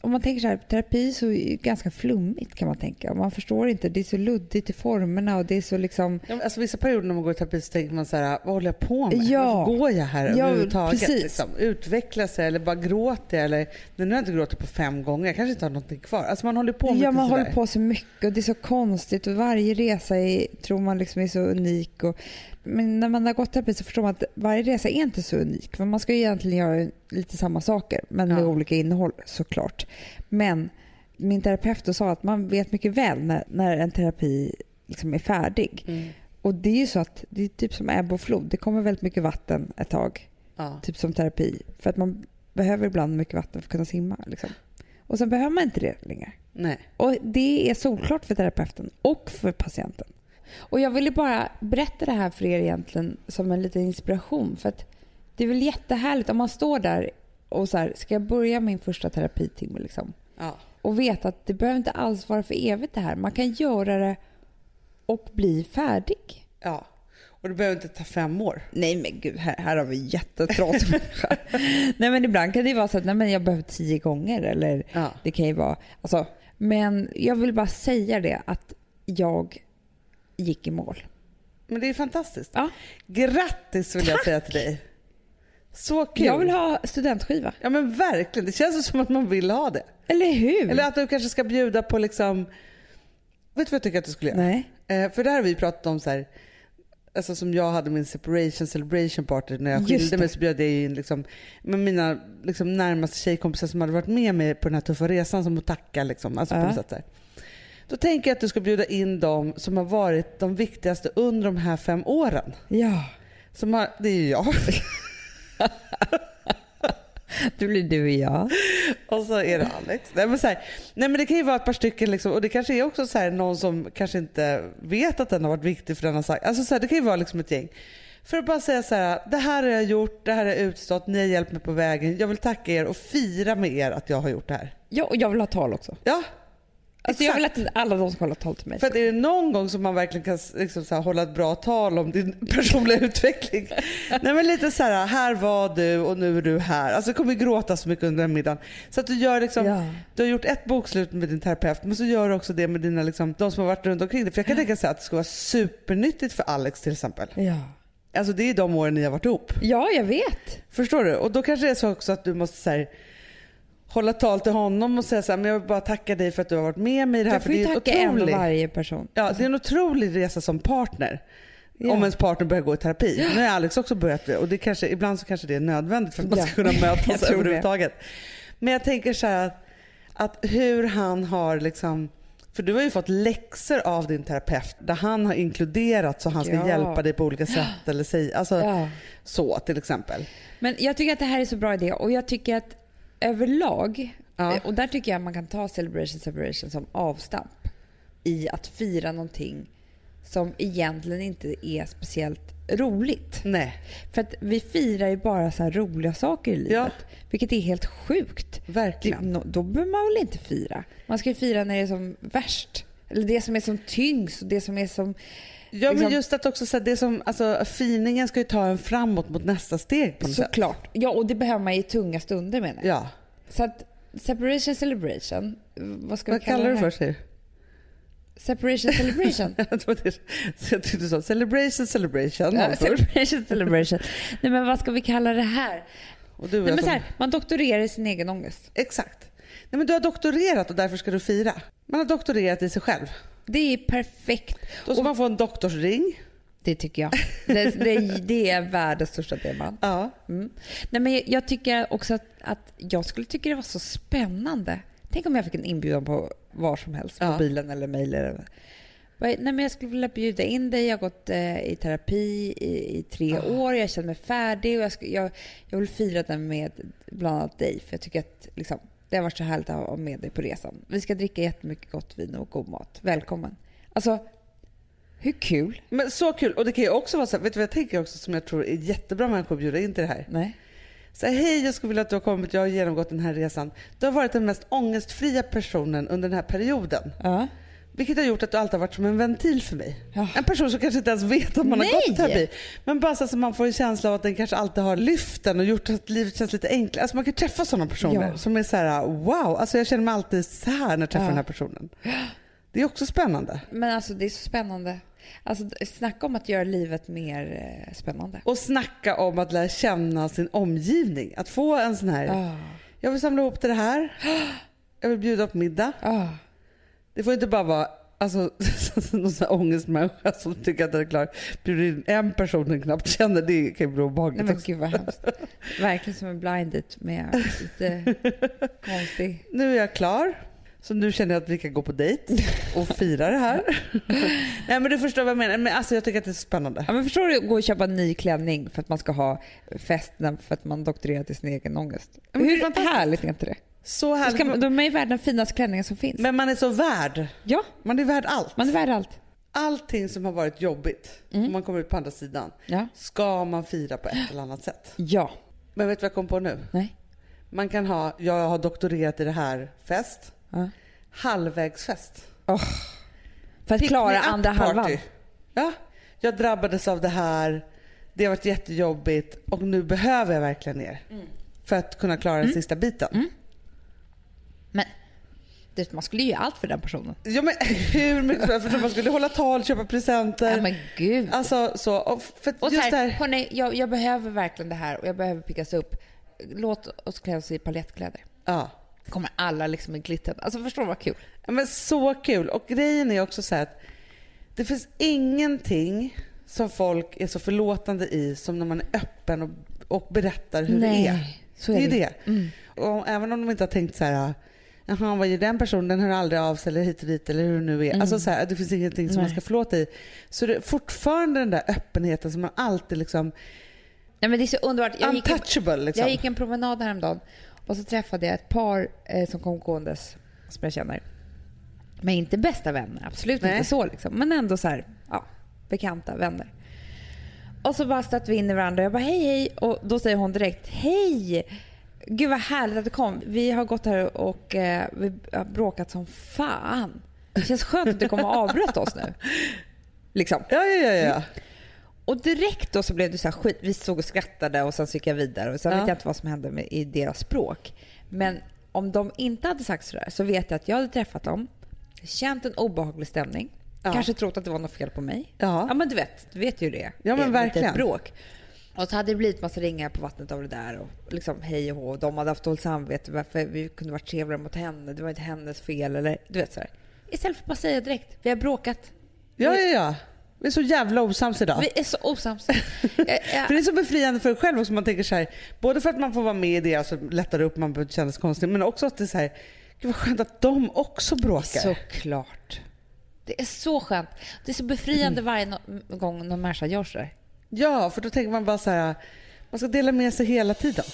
[SPEAKER 3] Om man tänker så här, terapi så är det ju ganska flummigt kan man tänka. Och Man förstår inte, det är så luddigt i formerna och det är så liksom...
[SPEAKER 2] Ja, men Alltså vissa perioder när man går i terapi så tänker man så här, "Ah, vad håller jag på med?
[SPEAKER 3] Ja.
[SPEAKER 2] Varför går jag här
[SPEAKER 3] Ja,
[SPEAKER 2] överhuvudtaget?
[SPEAKER 3] precis.
[SPEAKER 2] Liksom? Utvecklas jag eller bara gråter jag? Eller, nej, nu har jag inte gråtit på fem gånger, jag kanske inte har någonting kvar. Alltså man håller på med
[SPEAKER 3] Ja,
[SPEAKER 2] lite
[SPEAKER 3] man
[SPEAKER 2] sådär.
[SPEAKER 3] håller på så mycket och det är så konstigt och varje resa är, tror man liksom är så unik. Och, men när man har gått terapi så förstår man att varje resa är inte så unik. För man ska ju egentligen göra lite samma saker men med
[SPEAKER 2] Ja.
[SPEAKER 3] olika innehåll såklart. Men min terapeut då sa att man vet mycket väl när, när en terapi liksom är färdig.
[SPEAKER 2] Mm.
[SPEAKER 3] Och det är ju så att det är typ som ebb och flod. Det kommer väldigt mycket vatten ett tag.
[SPEAKER 2] Ja.
[SPEAKER 3] Typ som terapi. För att man behöver ibland mycket vatten för att kunna simma. Liksom. Och sen behöver man inte det längre.
[SPEAKER 2] Nej.
[SPEAKER 3] Och det är solklart för terapeuten och för patienten. Och jag ville bara berätta det här för er egentligen som en liten inspiration. För att det är väl jättehärligt om man står där och så här, ska jag börja min första terapitimme liksom?
[SPEAKER 2] Ja.
[SPEAKER 3] Och veta att det behöver inte alls vara för evigt det här. Man kan göra det och bli färdig.
[SPEAKER 2] ja. Och det behöver inte ta fem år.
[SPEAKER 3] Nej men gud, här, här har vi en jättetrasig människa. Nej men ibland kan det ju vara så att nej, men jag behöver tio gånger eller
[SPEAKER 2] Ja.
[SPEAKER 3] det kan ju vara... Alltså, men jag vill bara säga det att jag gick i mål.
[SPEAKER 2] Men det är fantastiskt.
[SPEAKER 3] Ja.
[SPEAKER 2] Grattis vill jag säga till dig. Så kul.
[SPEAKER 3] Jag vill ha studentskiva.
[SPEAKER 2] Ja men verkligen, det känns ju som att man vill ha det.
[SPEAKER 3] Eller hur?
[SPEAKER 2] Eller att du kanske ska bjuda på liksom, vet du vad jag tycker att du skulle göra?
[SPEAKER 3] Nej.
[SPEAKER 2] Eh, för det här har vi pratat om så här, alltså som jag hade min separation celebration party när jag
[SPEAKER 3] Just
[SPEAKER 2] skilde
[SPEAKER 3] det.
[SPEAKER 2] mig så bjöd jag in liksom, med mina liksom, närmaste tjejkompisar som hade varit med mig på den här tuffa resan som att tacka liksom, alltså, på
[SPEAKER 3] Ja.
[SPEAKER 2] något sätt, så här. Då tänker jag att du ska bjuda in dem som har varit de viktigaste under de här fem åren.
[SPEAKER 3] Ja.
[SPEAKER 2] Som har, det är ju jag.
[SPEAKER 3] Då blir du och jag.
[SPEAKER 2] Och så är det Alex. Nej men, så här, nej men det kan ju vara ett par stycken liksom, och det kanske är också så här, någon som kanske inte vet att den har varit viktig för den har sagt. Alltså så här, det kan ju vara liksom ett gäng. För att bara säga så här, det här har jag gjort, det här har jag utstått, ni har hjälpt mig på vägen. Jag vill tacka er och fira med er att jag har gjort det här.
[SPEAKER 3] Ja, och jag vill ha tal också.
[SPEAKER 2] Ja,
[SPEAKER 3] Alltså, jag vill att alla de ska hålla tal till mig.
[SPEAKER 2] För att är det någon gång som man verkligen kan liksom så här, hålla ett bra tal om din personliga utveckling. Nej men lite så här, här var du och nu är du här. Alltså du kommer ju gråta så mycket under den middagen. Så att du gör liksom,
[SPEAKER 3] Ja.
[SPEAKER 2] du har gjort ett bokslut med din terapeut men så gör du också det med dina, liksom, de som har varit runt omkring dig. För jag kan tänka så här, att det skulle vara supernyttigt för Alex till exempel.
[SPEAKER 3] Ja.
[SPEAKER 2] Alltså det är de åren ni har varit ihop.
[SPEAKER 3] ja, jag vet.
[SPEAKER 2] Förstår du? Och då kanske det är så också att du måste så här, hålla tal till honom och säga så här, men jag vill bara tacka dig för att du har varit med mig i det här.
[SPEAKER 3] Jag
[SPEAKER 2] för
[SPEAKER 3] får ju
[SPEAKER 2] det är
[SPEAKER 3] tacka en
[SPEAKER 2] otroligt.
[SPEAKER 3] av varje person.
[SPEAKER 2] Ja, det är en otrolig resa som partner.
[SPEAKER 3] Ja.
[SPEAKER 2] Om ens partner börjar gå i terapi. Nu har Alex också börjat det och det kanske, ibland så kanske det är nödvändigt för att man ska
[SPEAKER 3] Ja.
[SPEAKER 2] kunna
[SPEAKER 3] Jag
[SPEAKER 2] mötas
[SPEAKER 3] tror det.
[SPEAKER 2] överhuvudtaget. Men jag tänker så här att, att hur han har liksom för du har ju fått läxor av din terapeut där han har inkluderat så han ska
[SPEAKER 3] Ja.
[SPEAKER 2] hjälpa dig på olika sätt eller säga, alltså
[SPEAKER 3] Ja.
[SPEAKER 2] så till exempel.
[SPEAKER 3] Men jag tycker att det här är så bra idé och jag tycker att överlag,
[SPEAKER 2] Ja.
[SPEAKER 3] eh, och där tycker jag man kan ta Celebration Celebration som avstamp i att fira någonting som egentligen inte är speciellt roligt.
[SPEAKER 2] Nej,
[SPEAKER 3] För att vi firar ju bara så här roliga saker i livet,
[SPEAKER 2] Ja.
[SPEAKER 3] vilket är helt sjukt. Det,
[SPEAKER 2] verkligen.
[SPEAKER 3] nå- då behöver man väl inte fira? Man ska ju fira när det är som värst. Eller det som är som tyngst och det som är som...
[SPEAKER 2] Ja men
[SPEAKER 3] liksom-
[SPEAKER 2] just att också så här, det som, alltså finingen ska ju ta en framåt mot nästa steg på något sätt.
[SPEAKER 3] Såklart. Ja, och det behöver man i tunga stunder menar jag.
[SPEAKER 2] Ja.
[SPEAKER 3] Så att separation celebration, vad ska vi
[SPEAKER 2] Vad
[SPEAKER 3] kalla
[SPEAKER 2] kallar du
[SPEAKER 3] det här?
[SPEAKER 2] för sig?
[SPEAKER 3] Separation celebration.
[SPEAKER 2] Jag trodde- så jag tyckte du sa celebration, celebration.
[SPEAKER 3] Ja,
[SPEAKER 2] Alltså.
[SPEAKER 3] separation celebration. Nej men vad ska vi kalla det här?
[SPEAKER 2] Och du och
[SPEAKER 3] Nej,
[SPEAKER 2] jag
[SPEAKER 3] men så
[SPEAKER 2] som-
[SPEAKER 3] här man doktorerar i sin egen ångest.
[SPEAKER 2] Exakt. Nej, men du har doktorerat och därför ska du fira. Man har doktorerat i sig själv.
[SPEAKER 3] Det är perfekt.
[SPEAKER 2] Då ska man få en doktorsring.
[SPEAKER 3] Det tycker jag. Det, det, det är världens största diamant.
[SPEAKER 2] Ja.
[SPEAKER 3] Mm. Nej, men jag, jag tycker också att, att jag skulle tycka det var så spännande. Tänk om jag fick en inbjudan på var som helst, på
[SPEAKER 2] Ja.
[SPEAKER 3] bilen eller mejl. eller- Vad är- Nej, men jag skulle vilja bjuda in dig. Jag har gått eh, i terapi i, i tre år. Jag känner mig färdig och jag, sk- jag, jag vill fira den med bland annat dig. För jag tycker att liksom, det har varit så härligt att ha med dig på resan. Vi ska dricka jättemycket gott vin och god mat. Välkommen. Alltså, hur kul?
[SPEAKER 2] Men så kul. Och det kan ju också vara så här, vet du vad jag tänker också som jag tror är jättebra människor att bjuda in till det här?
[SPEAKER 3] Nej.
[SPEAKER 2] Så här, hej jag skulle vilja att du har kommit, jag har genomgått den här resan. Du har varit den mest ångestfria personen under den här perioden.
[SPEAKER 3] Ja.
[SPEAKER 2] Vilket har gjort att du alltid har varit som en ventil för mig.
[SPEAKER 3] Ja.
[SPEAKER 2] En person som kanske inte ens vet att man
[SPEAKER 3] Nej.
[SPEAKER 2] har gått i terapi. Men bara så att man får en känsla av att den kanske alltid har lyft den och gjort att livet känns lite enklare. Alltså man kan träffa sådana personer
[SPEAKER 3] Ja.
[SPEAKER 2] som är så här: wow, alltså jag känner mig alltid så här när jag träffar
[SPEAKER 3] Ja.
[SPEAKER 2] den här personen. Det är också spännande.
[SPEAKER 3] Men alltså det är så spännande. Alltså d- snacka om att göra livet mer eh, spännande.
[SPEAKER 2] Och snacka om att lära känna sin omgivning. Att få en sån här,
[SPEAKER 3] Ah,
[SPEAKER 2] jag vill samla ihop till det här. Jag vill bjuda på middag.
[SPEAKER 3] ah.
[SPEAKER 2] Det får inte bara vara alltså, någon sån här ångestmänniska som tycker att den är klar. Bjuder in en person den knappt känner, det kan ju bli
[SPEAKER 3] Nej
[SPEAKER 2] obehagligt
[SPEAKER 3] men
[SPEAKER 2] också.
[SPEAKER 3] gud vad hemskt. Verkligen som en blind date med lite konstig.
[SPEAKER 2] Nu är jag klar. Så nu känner jag att vi kan gå på dejt och fira det här. Nej men du förstår vad jag menar. Men alltså jag tycker att det är så spännande.
[SPEAKER 3] Ja, men förstår du att gå och köpa en ny klänning för att man ska ha festen för att man doktorerat i sin egen ångest.
[SPEAKER 2] men det är
[SPEAKER 3] Hur
[SPEAKER 2] fantastiskt.
[SPEAKER 3] härligt är inte det?
[SPEAKER 2] Så
[SPEAKER 3] Då ska man,
[SPEAKER 2] härligt.
[SPEAKER 3] de är ju värd den finaste klänningen som finns.
[SPEAKER 2] Men man är så värd.
[SPEAKER 3] ja,
[SPEAKER 2] Man är värd allt.
[SPEAKER 3] man Mm. är värd allt.
[SPEAKER 2] Allting som har varit jobbigt, om man kommer ut på andra sidan,
[SPEAKER 3] Ja.
[SPEAKER 2] ska man fira på ett eller annat sätt.
[SPEAKER 3] ja.
[SPEAKER 2] Men vet du vad jag kom på nu?
[SPEAKER 3] Nej.
[SPEAKER 2] Man kan ha, jag har doktorerat i det här, fest.
[SPEAKER 3] Ja.
[SPEAKER 2] Halvvägsfest.
[SPEAKER 3] För att
[SPEAKER 2] Pick me
[SPEAKER 3] klara
[SPEAKER 2] up
[SPEAKER 3] andra halvan.
[SPEAKER 2] party. Ja, jag drabbades av det här. Det har varit jättejobbigt och nu behöver jag verkligen er.
[SPEAKER 3] Mm.
[SPEAKER 2] För att kunna klara den sista biten.
[SPEAKER 3] Men det- man skulle ju göra allt för den personen.
[SPEAKER 2] Ja, men hur mycket som helst, för att man skulle hålla tal, köpa presenter.
[SPEAKER 3] Nej men gud.
[SPEAKER 2] Alltså så. Och för att
[SPEAKER 3] Oh Och
[SPEAKER 2] just
[SPEAKER 3] så här,
[SPEAKER 2] det här,
[SPEAKER 3] hörni, jag, jag behöver verkligen det här och jag behöver pickas upp. Låt oss klä oss i palettkläder.
[SPEAKER 2] ja.
[SPEAKER 3] Kommer alla liksom i glitter. Alltså förstår du vad kul?
[SPEAKER 2] Ja, Men så kul. Och grejen är också så här att det finns ingenting som folk är så förlåtande i som när man är öppen och, och berättar hur det är.
[SPEAKER 3] så Mm.
[SPEAKER 2] det är ju det. Och även om de inte har tänkt så här,
[SPEAKER 5] jaha vad gör den personen, den hör aldrig av sig eller hit och dit eller hur det nu är. Alltså så här, det finns ingenting som man
[SPEAKER 3] Mm. Nej.
[SPEAKER 5] ska förlåta i. Så det är fortfarande den där öppenheten som man alltid liksom,
[SPEAKER 3] Nej, men det är så underbart. Jag gick, en,
[SPEAKER 5] untouchable liksom.
[SPEAKER 3] jag gick en promenad häromdagen och så träffade jag ett par eh, som kom gåendes som jag känner. Men inte bästa vänner, absolut
[SPEAKER 5] Nej.
[SPEAKER 3] inte så. Liksom. Men ändå så här, ja, bekanta vänner. Och så bara stötte vi in i varandra. Jag bara hej hej och då säger hon direkt hej. Gud vad härligt att du kom. Vi har gått här och eh, vi har bråkat som fan. Det känns skönt att du kom och avbröt oss nu. Liksom.
[SPEAKER 5] Ja, ja, ja. ja.
[SPEAKER 3] Och direkt då så blev det så här skit. Vi såg och skrattade och sen så gick jag vidare. Och sen
[SPEAKER 5] Ja.
[SPEAKER 3] vet jag inte vad som hände med, i deras språk. Men om de inte hade sagt sådär så vet jag att jag hade träffat dem, känt en obehaglig stämning,
[SPEAKER 5] Ja.
[SPEAKER 3] kanske trott att det var något fel på mig.
[SPEAKER 5] Ja.
[SPEAKER 3] men du vet, du vet ju hur det är.
[SPEAKER 5] Ja, men
[SPEAKER 3] Det är
[SPEAKER 5] verkligen.
[SPEAKER 3] Ett litet bråk. Och så hade det blivit massa ringar på vattnet av det där och liksom hej och hå. Och De hade haft dåligt samvete varför vi kunde varit trevligare mot henne. Det var inte hennes fel eller du vet sådär. Istället för att bara säga direkt, vi har bråkat.
[SPEAKER 5] Ja, ja, ja. Vi är så jävla osams idag.
[SPEAKER 3] Vi är så osams. Eh, Jag- jag-
[SPEAKER 5] För det är så befriande för en själv också. Man tänker så här, både för att man får vara med i det, alltså lättar upp, man behöver inte känna sig konstig. Men också att det är så här, gud vad skönt att de också bråkar.
[SPEAKER 3] Såklart. Mm. Det är så skönt. Det är så befriande varje no- gång någon människa gör sådär.
[SPEAKER 5] Ja, för då tänker man bara så här, man ska dela med sig hela tiden.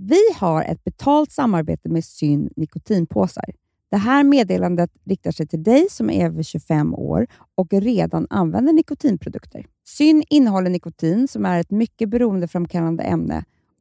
[SPEAKER 6] Vi har ett betalt samarbete med Syn nikotinpåsar. Det här meddelandet riktar sig till dig som är över 25 år och redan använder nikotinprodukter. Syn innehåller nikotin som är ett mycket beroendeframkallande ämne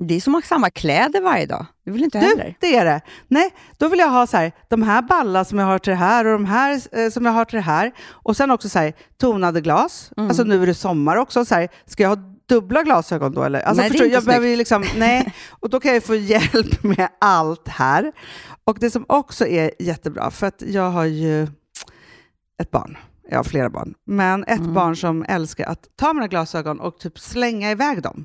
[SPEAKER 6] Det är som att ha samma kläder varje dag. Det vill inte jag
[SPEAKER 2] Du,
[SPEAKER 6] heller.
[SPEAKER 2] det är det. Nej, då vill jag ha så här, de här balla som jag har till det här och de här eh, som jag har till det här. Och sen också så här, tonade glas.
[SPEAKER 6] Mm.
[SPEAKER 2] Alltså nu är det sommar också. Så här, ska jag ha dubbla glasögon då eller? Alltså,
[SPEAKER 6] Nej, det är
[SPEAKER 2] förstår du,
[SPEAKER 6] inte
[SPEAKER 2] jag behöver ju liksom, nej. Och då kan jag ju få hjälp med allt här. Och det som också är jättebra, för att jag har ju ett barn. Jag har flera barn. Men ett
[SPEAKER 6] Mm.
[SPEAKER 2] barn som älskar att ta mina glasögon och typ slänga iväg dem.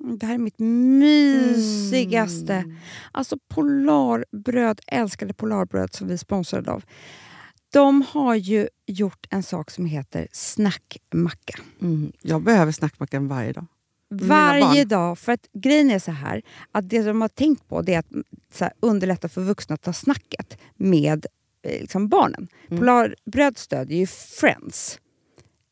[SPEAKER 2] Mm.
[SPEAKER 6] Mm, Det här är mitt mysigaste. Alltså Polarbröd, älskade Polarbröd som vi är sponsrade av. De har ju gjort en sak som heter snackmacka.
[SPEAKER 2] Mm, Jag behöver snackmackan varje dag. Mina
[SPEAKER 6] Varje
[SPEAKER 2] barn.
[SPEAKER 6] dag. För att grejen är så här, att det de har tänkt på det är att så här, underlätta för vuxna att ta snacket med eh, liksom, barnen.
[SPEAKER 2] Mm.
[SPEAKER 6] Polarbröd stödjer ju Friends.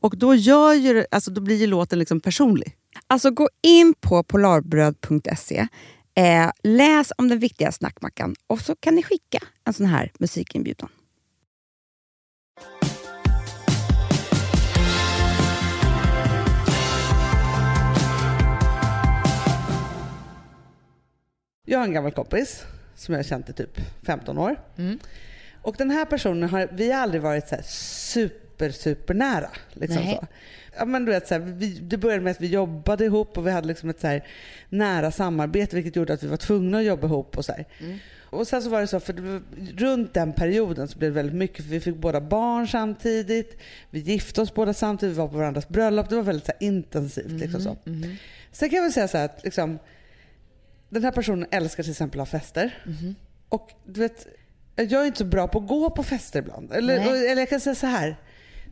[SPEAKER 7] Och då, gör ju, det- alltså, då blir ju låten liksom personlig.
[SPEAKER 6] Alltså gå in på polarbröd.se, eh, läs om den viktiga snackmackan och så kan ni skicka en sån här musikinbjudan.
[SPEAKER 2] Jag har en gammal kompis som jag har känt i typ 15 år. Och den här personen har, vi har aldrig varit så här super, super nära. Liksom
[SPEAKER 3] Nej.
[SPEAKER 2] så. Ja, men du vet, så här, vi, det började med att vi jobbade ihop och vi hade liksom ett så här nära samarbete vilket gjorde att vi var tvungna att jobba ihop. Och, så här. och sen så var det så, för det var, runt den perioden så blev det väldigt mycket för vi fick båda barn samtidigt. Vi gifte oss båda samtidigt, vi var på varandras bröllop. Det var väldigt så här, intensivt. Liksom så. Sen kan jag väl säga så här att liksom, den här personen älskar till exempel att ha fester.
[SPEAKER 3] Mhm.
[SPEAKER 2] Och du vet, jag är inte så bra på att gå på fester ibland. Eller,
[SPEAKER 3] Nej.
[SPEAKER 2] och, eller jag kan säga så här.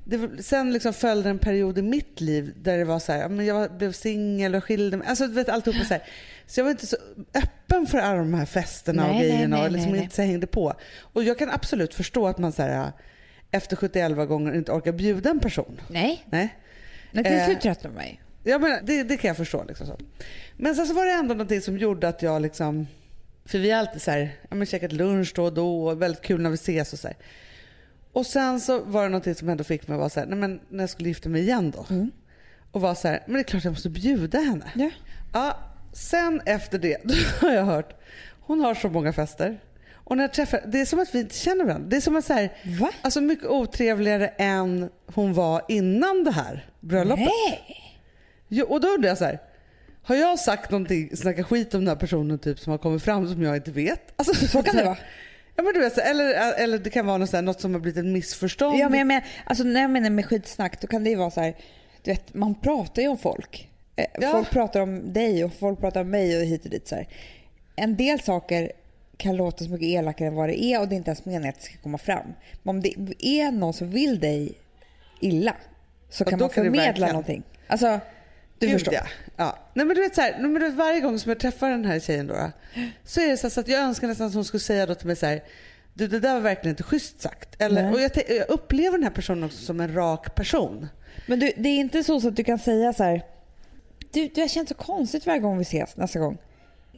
[SPEAKER 2] Det, var- sen liksom följde en period i mitt liv där det var så här, ja, men jag var- blev singel och skilde mig. Alltså du vet alltihopa så här. Så jag var inte så öppen för alla de här festerna och
[SPEAKER 3] Nej, nej,
[SPEAKER 2] grejerna
[SPEAKER 3] nej,
[SPEAKER 2] och liksom
[SPEAKER 3] nej, nej.
[SPEAKER 2] inte så här hängde på. Och jag kan absolut förstå att man så här, efter 71 gånger inte orkar bjuda en person.
[SPEAKER 3] Nej,
[SPEAKER 2] Nej.
[SPEAKER 3] men till
[SPEAKER 2] Eh.
[SPEAKER 3] slut tröttnar man ju.
[SPEAKER 2] Ja, men det, det kan jag förstå. Liksom så. Men sen så var det ändå någonting som gjorde att jag liksom... För vi har alltid så här, ja, men käkat lunch då och då och väldigt kul när vi ses och så här. Och sen så var det någonting som ändå fick mig att vara så här, nej men när jag skulle gifta mig igen då. Och var så här, men det är klart jag måste bjuda henne.
[SPEAKER 3] Mm. Ja.
[SPEAKER 2] Ja, sen efter det, då har jag hört, hon har så många fester. Och när jag träffar, det är som att vi inte känner varandra. Det är som att så här,
[SPEAKER 3] Va?
[SPEAKER 2] alltså mycket otrevligare än hon var innan det här bröllopet.
[SPEAKER 3] Nej.
[SPEAKER 2] Jo, och då undrar jag så här. Har jag sagt någonting, snackat skit om den här personen typ som har kommit fram som jag inte vet? Alltså, så
[SPEAKER 3] kan det vara.
[SPEAKER 2] Ja, men du vet, så här, eller, eller det kan vara något, så här, något som har blivit ett missförstånd.
[SPEAKER 3] Ja, men jag menar, alltså, när jag menar med skitsnack då kan det ju vara så här, du vet, man pratar ju om folk. Eh,
[SPEAKER 2] Ja.
[SPEAKER 3] Folk pratar om dig och folk pratar om mig och hit och dit. Så här. En del saker kan låta så mycket elakare än vad det är och det är inte ens meningen att det ska komma fram. Men om det är någon som vill dig illa så
[SPEAKER 2] Ja,
[SPEAKER 3] kan
[SPEAKER 2] då
[SPEAKER 3] man
[SPEAKER 2] kan det
[SPEAKER 3] förmedla
[SPEAKER 2] verkligen.
[SPEAKER 3] någonting. Alltså, du
[SPEAKER 2] Gud,
[SPEAKER 3] förstår.
[SPEAKER 2] Ja. Ja. Nej, men du vet, så här, nej, men du vet, varje gång som jag träffar den här tjejen då, då, så är det så, här, så att jag önskar nästan att hon skulle säga då till mig så här. Du det där var verkligen inte schysst sagt. Eller, och jag, te- jag upplever den här personen också som en rak person.
[SPEAKER 3] Men du, det är inte så, så att du kan säga så här. Du, du har känt så konstigt varje gång vi ses nästa gång.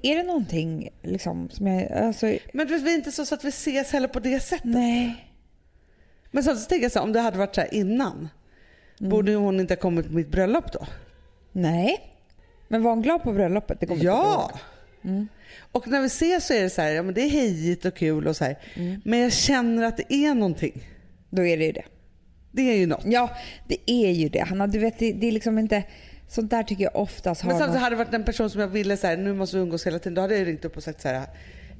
[SPEAKER 3] Är det någonting liksom som jag... Alltså,
[SPEAKER 2] Men du vet, vi är inte så, så att vi ses heller på det sättet.
[SPEAKER 3] nej.
[SPEAKER 2] Men sen så tänker jag så här, om det hade varit så här innan,
[SPEAKER 3] Mm.
[SPEAKER 2] borde ju hon inte ha kommit på mitt bröllop då?
[SPEAKER 3] Nej. Men var hon glad på bröllopet? Det kommer jag inte
[SPEAKER 2] Ja!
[SPEAKER 3] ihåg. Mm.
[SPEAKER 2] Och när vi ses så är det så här, ja men det är hejigt och kul och så här.
[SPEAKER 3] Mm.
[SPEAKER 2] Men jag känner att det är någonting.
[SPEAKER 3] Då är det ju det.
[SPEAKER 2] Det är ju något.
[SPEAKER 3] Ja, det är ju det. Hanna, du vet, det, det är liksom inte... Sånt där tycker jag oftast har
[SPEAKER 2] Men samtidigt
[SPEAKER 3] någon-
[SPEAKER 2] hade det varit en person som jag ville så här, nu måste vi umgås hela tiden, då hade jag ju ringt upp och sagt så här,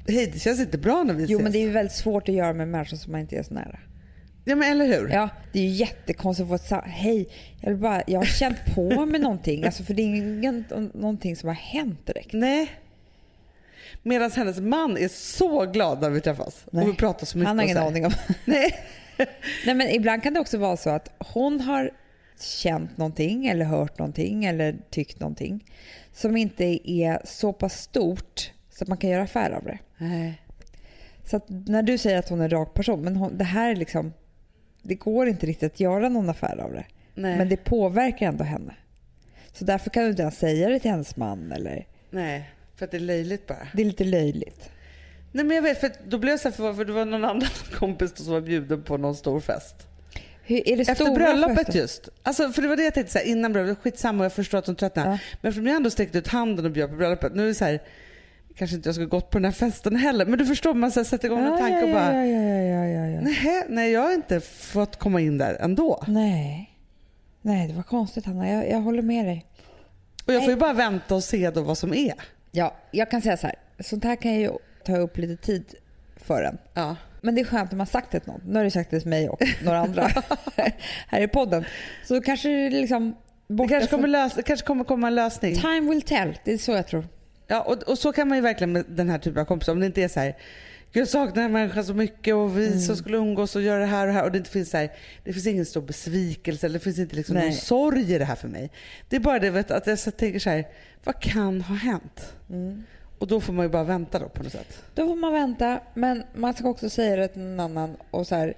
[SPEAKER 2] hej det känns inte bra när vi
[SPEAKER 3] Jo
[SPEAKER 2] ses.
[SPEAKER 3] men det är ju väldigt svårt att göra med människor som man inte är så nära.
[SPEAKER 2] Ja men eller hur?
[SPEAKER 3] Ja, det är ju jättekonstigt att få ett sa- hej, jag, vill bara, jag har känt på mig någonting. Alltså, för det är ingen, någonting som har hänt direkt.
[SPEAKER 2] Nej. Medan hennes man är så glad när vi träffas.
[SPEAKER 3] Nej.
[SPEAKER 2] Och vi pratar så mycket.
[SPEAKER 3] Han har
[SPEAKER 2] och
[SPEAKER 3] ingen
[SPEAKER 2] så här.
[SPEAKER 3] aning om.
[SPEAKER 2] Nej.
[SPEAKER 3] Nej, men ibland kan det också vara så att hon har känt någonting eller hört någonting eller tyckt någonting som inte är så pass stort så att man kan göra affär av det.
[SPEAKER 2] Nej.
[SPEAKER 3] Så att när du säger att hon är en rak person, men hon, det här är liksom, det går inte riktigt att göra någon affär av det.
[SPEAKER 2] Nej.
[SPEAKER 3] Men det påverkar ändå henne. Så därför kan du inte ens säga det till hennes man. Eller,
[SPEAKER 2] Nej. För att det är löjligt bara.
[SPEAKER 3] det är lite löjligt.
[SPEAKER 2] Nej men jag vet, för då blev jag så här förvånad för det var någon annan kompis då som var bjuden på någon stor fest.
[SPEAKER 3] Hur, är det
[SPEAKER 7] Efter
[SPEAKER 3] stora
[SPEAKER 7] bröllopet
[SPEAKER 3] födelsedagar?
[SPEAKER 7] just. Alltså, för det var det jag tänkte så här, innan bröllopet, skitsamma jag förstår att de tröttnar.
[SPEAKER 3] Ja.
[SPEAKER 7] Men för de har ändå sträckt ut handen och bjöd på bröllopet. Nu är det så här, kanske inte jag skulle gått på den här festen heller. Men du förstår, man så här, sätter igång en
[SPEAKER 3] Ja,
[SPEAKER 7] tanke
[SPEAKER 3] ja,
[SPEAKER 7] och bara,
[SPEAKER 3] ja, ja, ja, ja, ja.
[SPEAKER 7] nej, nej jag har inte fått komma in där ändå.
[SPEAKER 3] Nej. Nej, det var konstigt Hanna. Jag, jag håller med dig.
[SPEAKER 7] Och jag får ju bara vänta och se då vad som är.
[SPEAKER 3] Ja, jag kan säga så här. Sånt här kan ju ta upp lite tid för en.
[SPEAKER 7] Ja.
[SPEAKER 3] Men det är skönt när man sagt det till någon. Nu har du sagt det till mig och några andra här i podden. Så kanske det liksom...
[SPEAKER 7] Det
[SPEAKER 3] Borta
[SPEAKER 7] kanske kommer, lös- det kanske kommer komma en lösning.
[SPEAKER 3] från- Time will tell. Det är så jag tror.
[SPEAKER 7] Ja, och, och så kan man ju verkligen med den här typen av kompisar. Om det inte är så här, "Gud, jag saknar den här människan så mycket och vi som skulle umgås och göra det här och det här. Och det inte finns så här, det finns ingen stor besvikelse eller det finns inte liksom någon
[SPEAKER 3] Nej.
[SPEAKER 7] sorg i det här för mig. Det är bara det vet, att jag så tänker så här, vad kan ha hänt? Och då får man ju bara vänta då på något sätt.
[SPEAKER 3] Då får man vänta. Men man ska också säga det till någon annan och så här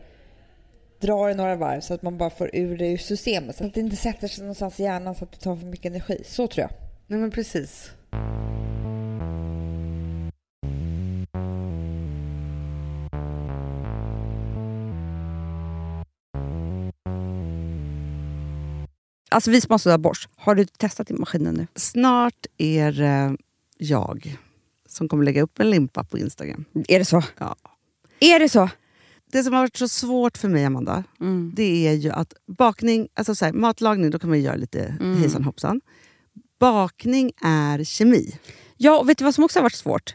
[SPEAKER 3] dra det några varv så att man bara får ur det ur systemet. Så att det inte sätter sig någonstans i hjärnan så att det tar för mycket energi. Så tror jag.
[SPEAKER 7] Nej men precis.
[SPEAKER 6] Alltså vi som har sådär borst, har du testat i maskinen nu?
[SPEAKER 2] Snart är eh, jag som kommer lägga upp en limpa på Instagram.
[SPEAKER 6] Är det så?
[SPEAKER 2] Ja.
[SPEAKER 6] Är det så?
[SPEAKER 2] Det som har varit så svårt för mig, Amanda,
[SPEAKER 6] Mm.
[SPEAKER 2] det är ju att bakning, alltså så här, matlagning, då kan man ju göra lite hejsan hoppsan. Bakning är kemi.
[SPEAKER 6] Ja, och vet du vad som också har varit svårt?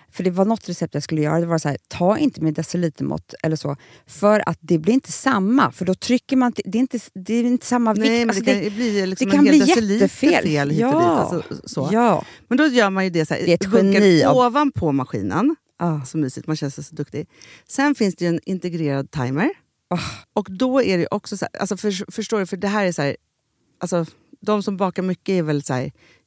[SPEAKER 6] För det var något recept jag skulle göra. Det var så här, ta inte med decilitermått eller så. För att det blir inte samma. För då trycker man... till- Det är inte, det är inte samma vikt.
[SPEAKER 2] Nej, men
[SPEAKER 6] Alltså,
[SPEAKER 2] det kan ju bli liksom
[SPEAKER 6] det kan
[SPEAKER 2] en hel
[SPEAKER 6] bli
[SPEAKER 2] deciliter
[SPEAKER 6] jättefel.
[SPEAKER 2] fel hit och
[SPEAKER 6] Ja.
[SPEAKER 2] dit. Alltså, så.
[SPEAKER 6] Ja.
[SPEAKER 2] Men då gör man ju det så här,
[SPEAKER 6] Det är ett
[SPEAKER 2] bunkar
[SPEAKER 6] geni av-
[SPEAKER 2] ovanpå maskinen.
[SPEAKER 6] Ah.
[SPEAKER 2] Så mysigt, man känns så duktig. Sen finns det ju en integrerad timer.
[SPEAKER 6] Ah.
[SPEAKER 2] Och då är det ju också så här, alltså för, förstår du, för det här är så här, alltså de som bakar mycket är väl så här,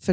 [SPEAKER 2] för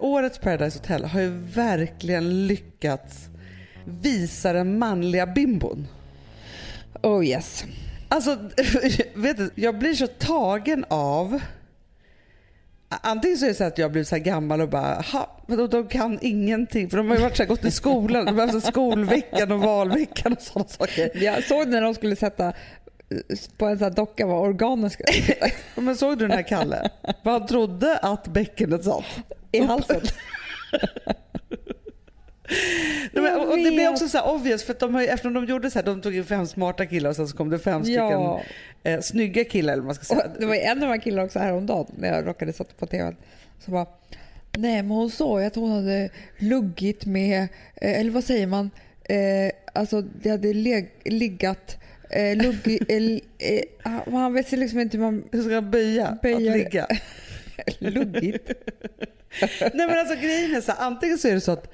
[SPEAKER 7] Årets Paradise Hotel har ju verkligen lyckats visa den manliga bimbon.
[SPEAKER 3] Oh yes.
[SPEAKER 7] Alltså, vet du, jag blir så tagen av... Antingen så är det så att jag blir så här gammal och bara, ha, men de, de kan ingenting. För de har ju varit så här, gått i skolan, de har haft så här skolveckan och valveckan och sådana saker.
[SPEAKER 3] Jag såg när de skulle sätta eh, på en sån här docka vad organen skulle sitta
[SPEAKER 7] Ja, Men såg du den här Kalle? Vad han trodde att bäckenet satt.
[SPEAKER 3] i halsen.
[SPEAKER 7] Nej, men, och, och det
[SPEAKER 3] Jag
[SPEAKER 7] blir
[SPEAKER 3] vet.
[SPEAKER 7] också så här obvious för att de har, ju- eftersom de gjorde så här, de tog in fem smarta killar och sen så kom det fem
[SPEAKER 3] Ja.
[SPEAKER 7] stycken eh, snygga killar eller vad man ska
[SPEAKER 3] Och
[SPEAKER 7] säga.
[SPEAKER 3] det var ju en av de här killarna också häromdagen när jag råkade sätta på tvn. Så bara, nej men hon sa ju att hon hade luggit med, eh, eller vad säger man, eh, alltså det hade leg, liggat, eh, lugg, eh, eh, han- han vet sig liksom inte hur man
[SPEAKER 7] Hur ska man böja?
[SPEAKER 3] Böja.
[SPEAKER 7] Att ligga?
[SPEAKER 3] luggit.
[SPEAKER 7] Nej men alltså grejen är så här, antingen så är det så att,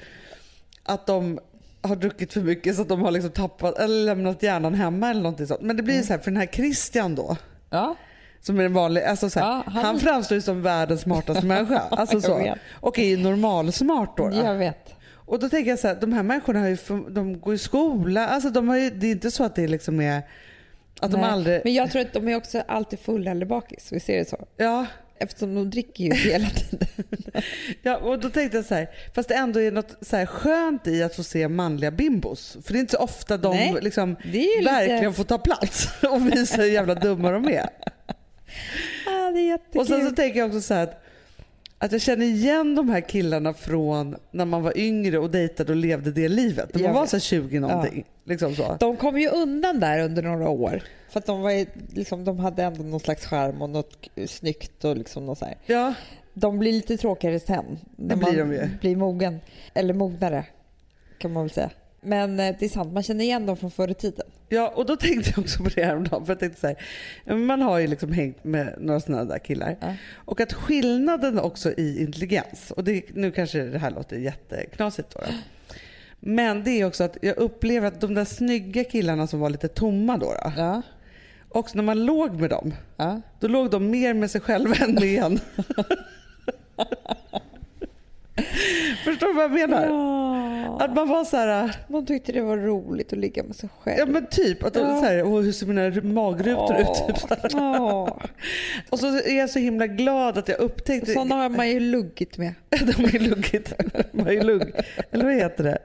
[SPEAKER 7] att de har druckit för mycket så att de har liksom tappat eller lämnat hjärnan hemma eller någonting sånt. Men det
[SPEAKER 3] Mm.
[SPEAKER 7] blir ju så här för den här Christian då.
[SPEAKER 3] Ja.
[SPEAKER 7] Som är en vanlig, alltså så här,
[SPEAKER 3] Ja,
[SPEAKER 7] han...
[SPEAKER 3] han-
[SPEAKER 7] framstår ju som världens smartaste människa. Alltså
[SPEAKER 3] Jag
[SPEAKER 7] så.
[SPEAKER 3] vet.
[SPEAKER 7] Och är ju normalsmart då. då.
[SPEAKER 3] Jag vet.
[SPEAKER 7] Och då tänker jag så här, de här människorna har ju, fun- de går i skola. Alltså de har ju, det är inte så att det liksom är att de
[SPEAKER 3] Nej.
[SPEAKER 7] aldrig...
[SPEAKER 3] Men jag tror att de är också alltid fulla eller bakis, vi ser det så?
[SPEAKER 7] Ja,
[SPEAKER 3] Eftersom de dricker ju hela tiden.
[SPEAKER 7] ja, och då tänkte jag så här, fast det ändå är något så här skönt i att få se manliga bimbos. För det är inte så ofta de
[SPEAKER 3] Nej,
[SPEAKER 7] liksom
[SPEAKER 3] det är ju lite-
[SPEAKER 7] verkligen får ta plats och visa hur jävla dumma de är.
[SPEAKER 3] Ah, det är jättekul.
[SPEAKER 7] Och sen så tänker jag också så här att, att jag känner igen de här killarna från när man var yngre och dejtade och levde det livet. När man
[SPEAKER 3] Jag
[SPEAKER 7] var
[SPEAKER 3] vet.
[SPEAKER 7] så här 20 någonting. Liksom så.
[SPEAKER 3] De kom ju undan där under några år. För att de, var ju, liksom, de hade ändå någon slags charm och något k- snyggt. Och liksom något så här.
[SPEAKER 7] Ja,
[SPEAKER 3] De blir lite tråkigare sen. När
[SPEAKER 7] blir
[SPEAKER 3] man
[SPEAKER 7] de ju.
[SPEAKER 3] blir mogen. Eller mognare kan man väl säga. Men eh, det är sant, man känner igen dem från förr i tiden.
[SPEAKER 7] Ja, och då tänkte jag också på det häromdagen. För jag tänkte så här, ja, men man har ju liksom hängt med några sådana där killar.
[SPEAKER 3] Ja.
[SPEAKER 7] Och att skillnaden också i intelligens, och det, nu kanske det här låter jätteknasigt då. då. Men det är också att jag upplever att de där snygga killarna som var lite tomma då, då
[SPEAKER 3] Ja.
[SPEAKER 7] också när man låg med dem,
[SPEAKER 3] Ja.
[SPEAKER 7] då låg de mer med sig själva än med en. Förstår du vad jag menar? Att man var så här...
[SPEAKER 3] Man tyckte det var roligt att ligga med sig själv.
[SPEAKER 7] Ja men typ. Att de,
[SPEAKER 3] Ja.
[SPEAKER 7] så här, "Åh, hur ser mina magrutor ut? Typ så här.
[SPEAKER 3] Ja.
[SPEAKER 7] Och så är jag så himla glad att jag upptäckte...
[SPEAKER 3] Sådana har man ju luggit med.
[SPEAKER 7] De har ju luggit. De har ju lugg. Eller vad heter det?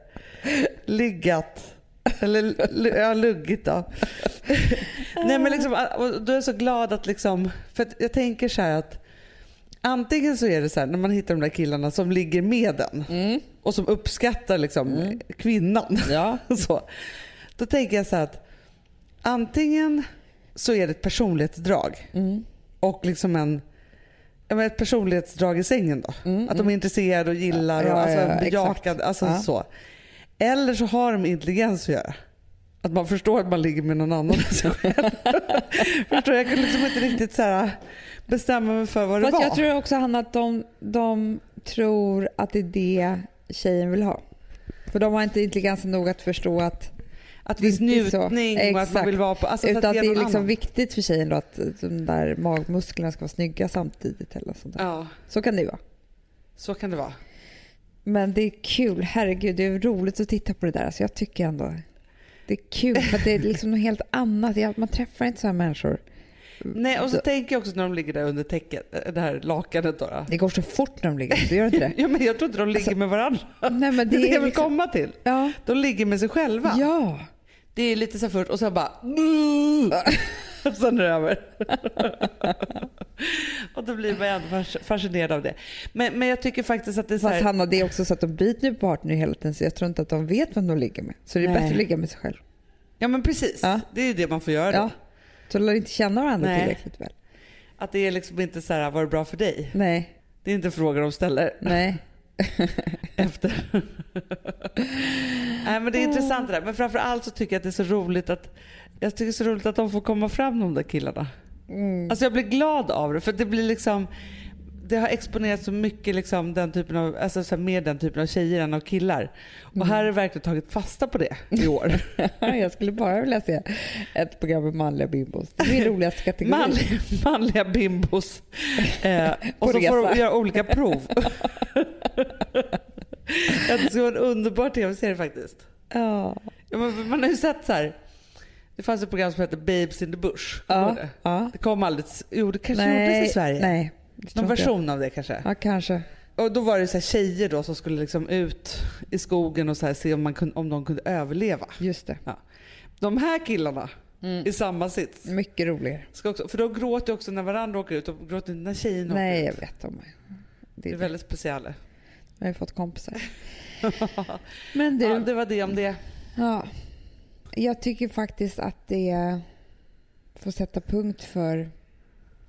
[SPEAKER 7] Liggat. Eller lu- ja, luggit då. Nej men liksom, och då är jag så glad att liksom... För att jag tänker så här att Antingen så är det så här när man hittar de där killarna som ligger med den och som uppskattar liksom kvinnan. så. Då tänker jag så här att antingen så är det ett personlighetsdrag
[SPEAKER 3] Mm.
[SPEAKER 7] och liksom en ja, men ett personlighetsdrag i sängen då. att de är intresserade och gillar
[SPEAKER 3] Mm, Ja,
[SPEAKER 7] och
[SPEAKER 3] ja,
[SPEAKER 7] alltså,
[SPEAKER 3] ja,
[SPEAKER 7] bejakade. Alltså,
[SPEAKER 3] Ja.
[SPEAKER 7] så. Eller så har de intelligens att göra. Att man förstår att man ligger med någon annan än sig själv. förstår, jag? jag kunde liksom inte riktigt så här, bestämma mig för vad det
[SPEAKER 3] Fast
[SPEAKER 7] var.
[SPEAKER 3] jag tror också Hanna att de, de tror att det är det tjejen vill ha. För de har inte intelligensen nog att förstå att
[SPEAKER 7] att det finns
[SPEAKER 3] det är så.
[SPEAKER 7] njutning och att man
[SPEAKER 3] Exakt.
[SPEAKER 7] vill vara på... Alltså, så
[SPEAKER 3] utan
[SPEAKER 7] att
[SPEAKER 3] det
[SPEAKER 7] ge
[SPEAKER 3] är
[SPEAKER 7] någon
[SPEAKER 3] liksom
[SPEAKER 7] annan.
[SPEAKER 3] viktigt för tjejen då att de där magmusklerna ska vara snygga samtidigt. Eller något sånt där.
[SPEAKER 7] Ja,
[SPEAKER 3] Så kan det ju vara.
[SPEAKER 7] så kan det vara.
[SPEAKER 3] Men det är kul. Herregud, det är roligt att titta på det där. Alltså jag tycker ändå det är kul för att det är liksom något helt annat. Jag- Man träffar inte så här människor.
[SPEAKER 7] Nej, och så
[SPEAKER 3] Så-
[SPEAKER 7] tänker jag också när de ligger där under täcket, äh, det här lakanet då. då.
[SPEAKER 3] Det går så fort när de ligger. Du gör inte det?
[SPEAKER 7] Ja, men jag tror inte de ligger med varandra.
[SPEAKER 3] Nej, men
[SPEAKER 7] Det är det jag vill
[SPEAKER 3] liksom-
[SPEAKER 7] komma till.
[SPEAKER 3] Ja.
[SPEAKER 7] De ligger med sig själva.
[SPEAKER 3] Ja.
[SPEAKER 7] Det är lite så här först och sen bara... sen är det över. och då blir man ändå fas- fascinerad av det. Men, men jag tycker faktiskt att det är så
[SPEAKER 3] Fast
[SPEAKER 7] här,
[SPEAKER 3] Hanna, det är också så att de byter ju partner hela tiden så jag tror inte att de vet vem de ligger med. Så det är
[SPEAKER 7] Nej.
[SPEAKER 3] bättre att ligga med sig själv.
[SPEAKER 7] Ja men precis.
[SPEAKER 3] Ja.
[SPEAKER 7] Det är ju det man får göra då.
[SPEAKER 3] Ja. Så de lär inte känna varandra
[SPEAKER 7] Nej.
[SPEAKER 3] tillräckligt väl.
[SPEAKER 7] Att det är liksom inte så här, var det bra för dig?
[SPEAKER 3] Nej,
[SPEAKER 7] Det är inte frågor de ställer
[SPEAKER 3] nej.
[SPEAKER 7] efter. Nej men det är intressant det där. Men framförallt så tycker jag att det är så roligt att jag tycker det är så roligt att de får komma fram de där killarna.
[SPEAKER 3] Mm.
[SPEAKER 7] Alltså jag blir glad av det för det blir liksom det har exponerats så mycket liksom den typen av, alltså så här, mer den typen av tjejer än av killar. Och här har jag verkligen tagit fasta på det i år.
[SPEAKER 3] Jag skulle bara vilja se ett program med manliga bimbos. Det är min roligaste kategori.
[SPEAKER 7] Manliga, manliga bimbos. Eh, och
[SPEAKER 3] På
[SPEAKER 7] så får de
[SPEAKER 3] resa.
[SPEAKER 7] göra olika prov. Jag tycker det var en underbar tv-serie faktiskt.
[SPEAKER 3] Ja.
[SPEAKER 7] Ja, men man har ju sett så här. Det fanns ett program som hette Babes in the Bush. Kommer du ihåg
[SPEAKER 3] Ja.
[SPEAKER 7] Det?
[SPEAKER 3] ja.
[SPEAKER 7] det kom aldrig. Jo, det kanske gjordes i Sverige.
[SPEAKER 3] Nej. det tror
[SPEAKER 7] Någon
[SPEAKER 3] inte jag.
[SPEAKER 7] version av det kanske.
[SPEAKER 3] Ja, kanske.
[SPEAKER 7] Och då var det så här tjejer då som skulle liksom ut i skogen och så här se om, man kunde, om de kunde överleva.
[SPEAKER 3] Just det.
[SPEAKER 7] De här killarna
[SPEAKER 3] Mm.
[SPEAKER 7] i samma sits.
[SPEAKER 3] Mycket roligare.
[SPEAKER 7] Ska också, för de gråter ju också när varandra åker ut. De gråter inte när tjejen åker
[SPEAKER 3] Nej,
[SPEAKER 7] ut.
[SPEAKER 3] jag vet om det.
[SPEAKER 7] Det är
[SPEAKER 3] Är det.
[SPEAKER 7] väldigt speciellt.
[SPEAKER 3] Jag har ju fått kompisar. Men du,
[SPEAKER 7] Ja, det var det om det.
[SPEAKER 3] Ja. Jag tycker faktiskt att det får sätta punkt för...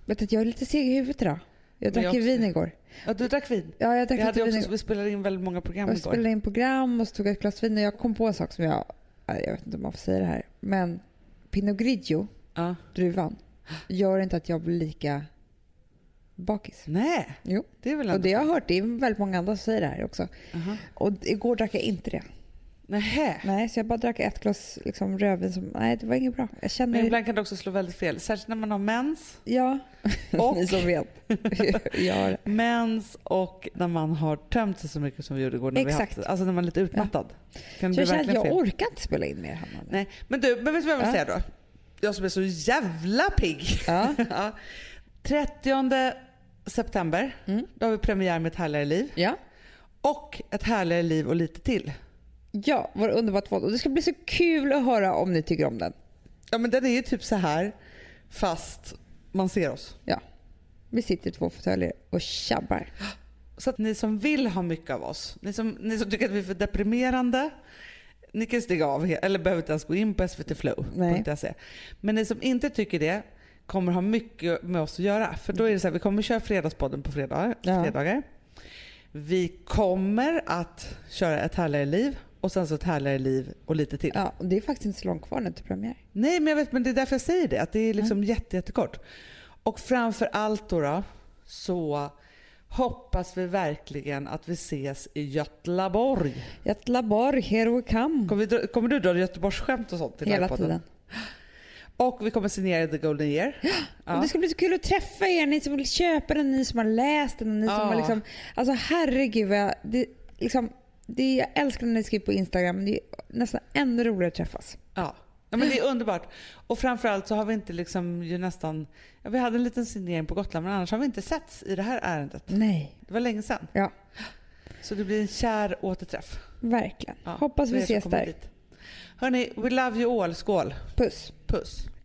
[SPEAKER 3] Vet att jag är lite seg i huvudet idag. Jag drack
[SPEAKER 7] jag
[SPEAKER 3] ju
[SPEAKER 7] också.
[SPEAKER 3] vin igår.
[SPEAKER 7] Ja, du drack vin.
[SPEAKER 3] Ja, jag drack
[SPEAKER 7] Vi, hade
[SPEAKER 3] lite
[SPEAKER 7] ju
[SPEAKER 3] vin
[SPEAKER 7] också,
[SPEAKER 3] igår.
[SPEAKER 7] vi spelade in väldigt många program
[SPEAKER 3] Jag
[SPEAKER 7] igår.
[SPEAKER 3] spelade in program och så tog jag ett glas vin och jag kom på en sak som jag... nej, Jag vet inte om man får säga det här. Men Pinot Grigio,
[SPEAKER 7] Ja.
[SPEAKER 3] druvan, gör inte att jag blir lika bakis.
[SPEAKER 7] Nej,
[SPEAKER 3] Jo.
[SPEAKER 7] det är väl
[SPEAKER 3] Och
[SPEAKER 7] ändå...
[SPEAKER 3] det jag har hört, det är väldigt många andra som säger det här också.
[SPEAKER 7] Aha.
[SPEAKER 3] Och igår drack jag inte det.
[SPEAKER 7] Nähä.
[SPEAKER 3] Nej, så jag bara drack ett glas liksom, rödvin som... Nej, det var inget bra. Jag känner...
[SPEAKER 7] Men ibland kan det också slå väldigt fel. Särskilt när man har mens,
[SPEAKER 3] Ja.
[SPEAKER 7] Och-
[SPEAKER 3] Ni som vet. ja.
[SPEAKER 7] mens och när man har tömt sig så mycket som vi gjorde igår. När
[SPEAKER 3] Exakt.
[SPEAKER 7] Vi haft, alltså när man är lite utmattad. Kan det
[SPEAKER 3] Så
[SPEAKER 7] bli
[SPEAKER 3] jag känner att
[SPEAKER 7] verkligen
[SPEAKER 3] jag
[SPEAKER 7] fel.
[SPEAKER 3] orkar inte spela in mer Hanna. nu.
[SPEAKER 7] Nej. Men du, men vet du vad jag vill
[SPEAKER 3] Ja.
[SPEAKER 7] säga då? Jag som är så jävla pigg.
[SPEAKER 3] Ja.
[SPEAKER 7] Ja. 30 september, då har vi premiär med Ett härligare liv.
[SPEAKER 3] Mm. Ja.
[SPEAKER 7] Och Ett härligare liv och lite till.
[SPEAKER 3] ja, vad underbart vad. Och det ska bli så kul att höra om ni tycker om den.
[SPEAKER 7] Ja men den är ju typ så här fast man ser oss.
[SPEAKER 3] Ja. Vi sitter i två fåtöljer och tjabbar.
[SPEAKER 7] Så att ni som vill ha mycket av oss, ni som, ni som tycker att vi är för deprimerande, ni kan stiga av he- eller behöver inte ens gå in på svtflow.se. E. Men ni som inte tycker det kommer ha mycket med oss att göra. För då är det så här, vi kommer köra Fredagspodden på fredagar.
[SPEAKER 3] Ja.
[SPEAKER 7] fredagar. Vi kommer att köra Ett härligare liv och sen så Ett härligare liv och lite till.
[SPEAKER 3] Ja, och det är faktiskt inte så långt kvar nu till premiär.
[SPEAKER 7] Nej, men jag vet, men det är därför jag säger det. Att det är liksom jätte, jättekort. Och framför allt då, då så hoppas vi verkligen att vi ses i Göteborg.
[SPEAKER 3] Mm. Göteborg, here we come.
[SPEAKER 7] Kommer, vi dra, kommer du dra Göteborgsskämt och sånt? till
[SPEAKER 3] Hela
[SPEAKER 7] livepodden?
[SPEAKER 3] tiden.
[SPEAKER 7] Och vi kommer signera The Golden Year.
[SPEAKER 3] Och
[SPEAKER 7] Ja.
[SPEAKER 3] det ska bli så kul att träffa er, ni som vill köpa den, ni som har läst den. och Ni som
[SPEAKER 7] Ja.
[SPEAKER 3] har liksom, alltså herregud, vad jag, det, liksom, det, jag älskar när ni skriver på Instagram, men det är nästan ännu roligare att träffas.
[SPEAKER 7] Ja. ja, men det är underbart. Och framförallt så har vi inte liksom ju nästan... Ja, vi hade en liten signering på Gotland men annars har vi inte setts i det här ärendet.
[SPEAKER 3] Nej.
[SPEAKER 7] Det var länge sedan.
[SPEAKER 3] Ja,
[SPEAKER 7] Så det blir en kär återträff.
[SPEAKER 3] verkligen.
[SPEAKER 7] Ja,
[SPEAKER 3] Hoppas
[SPEAKER 7] för
[SPEAKER 3] vi
[SPEAKER 7] er som
[SPEAKER 3] ses
[SPEAKER 7] kommer
[SPEAKER 3] där.
[SPEAKER 7] dit. Hörni, we love you all. Skål!
[SPEAKER 3] Puss.
[SPEAKER 7] Puss!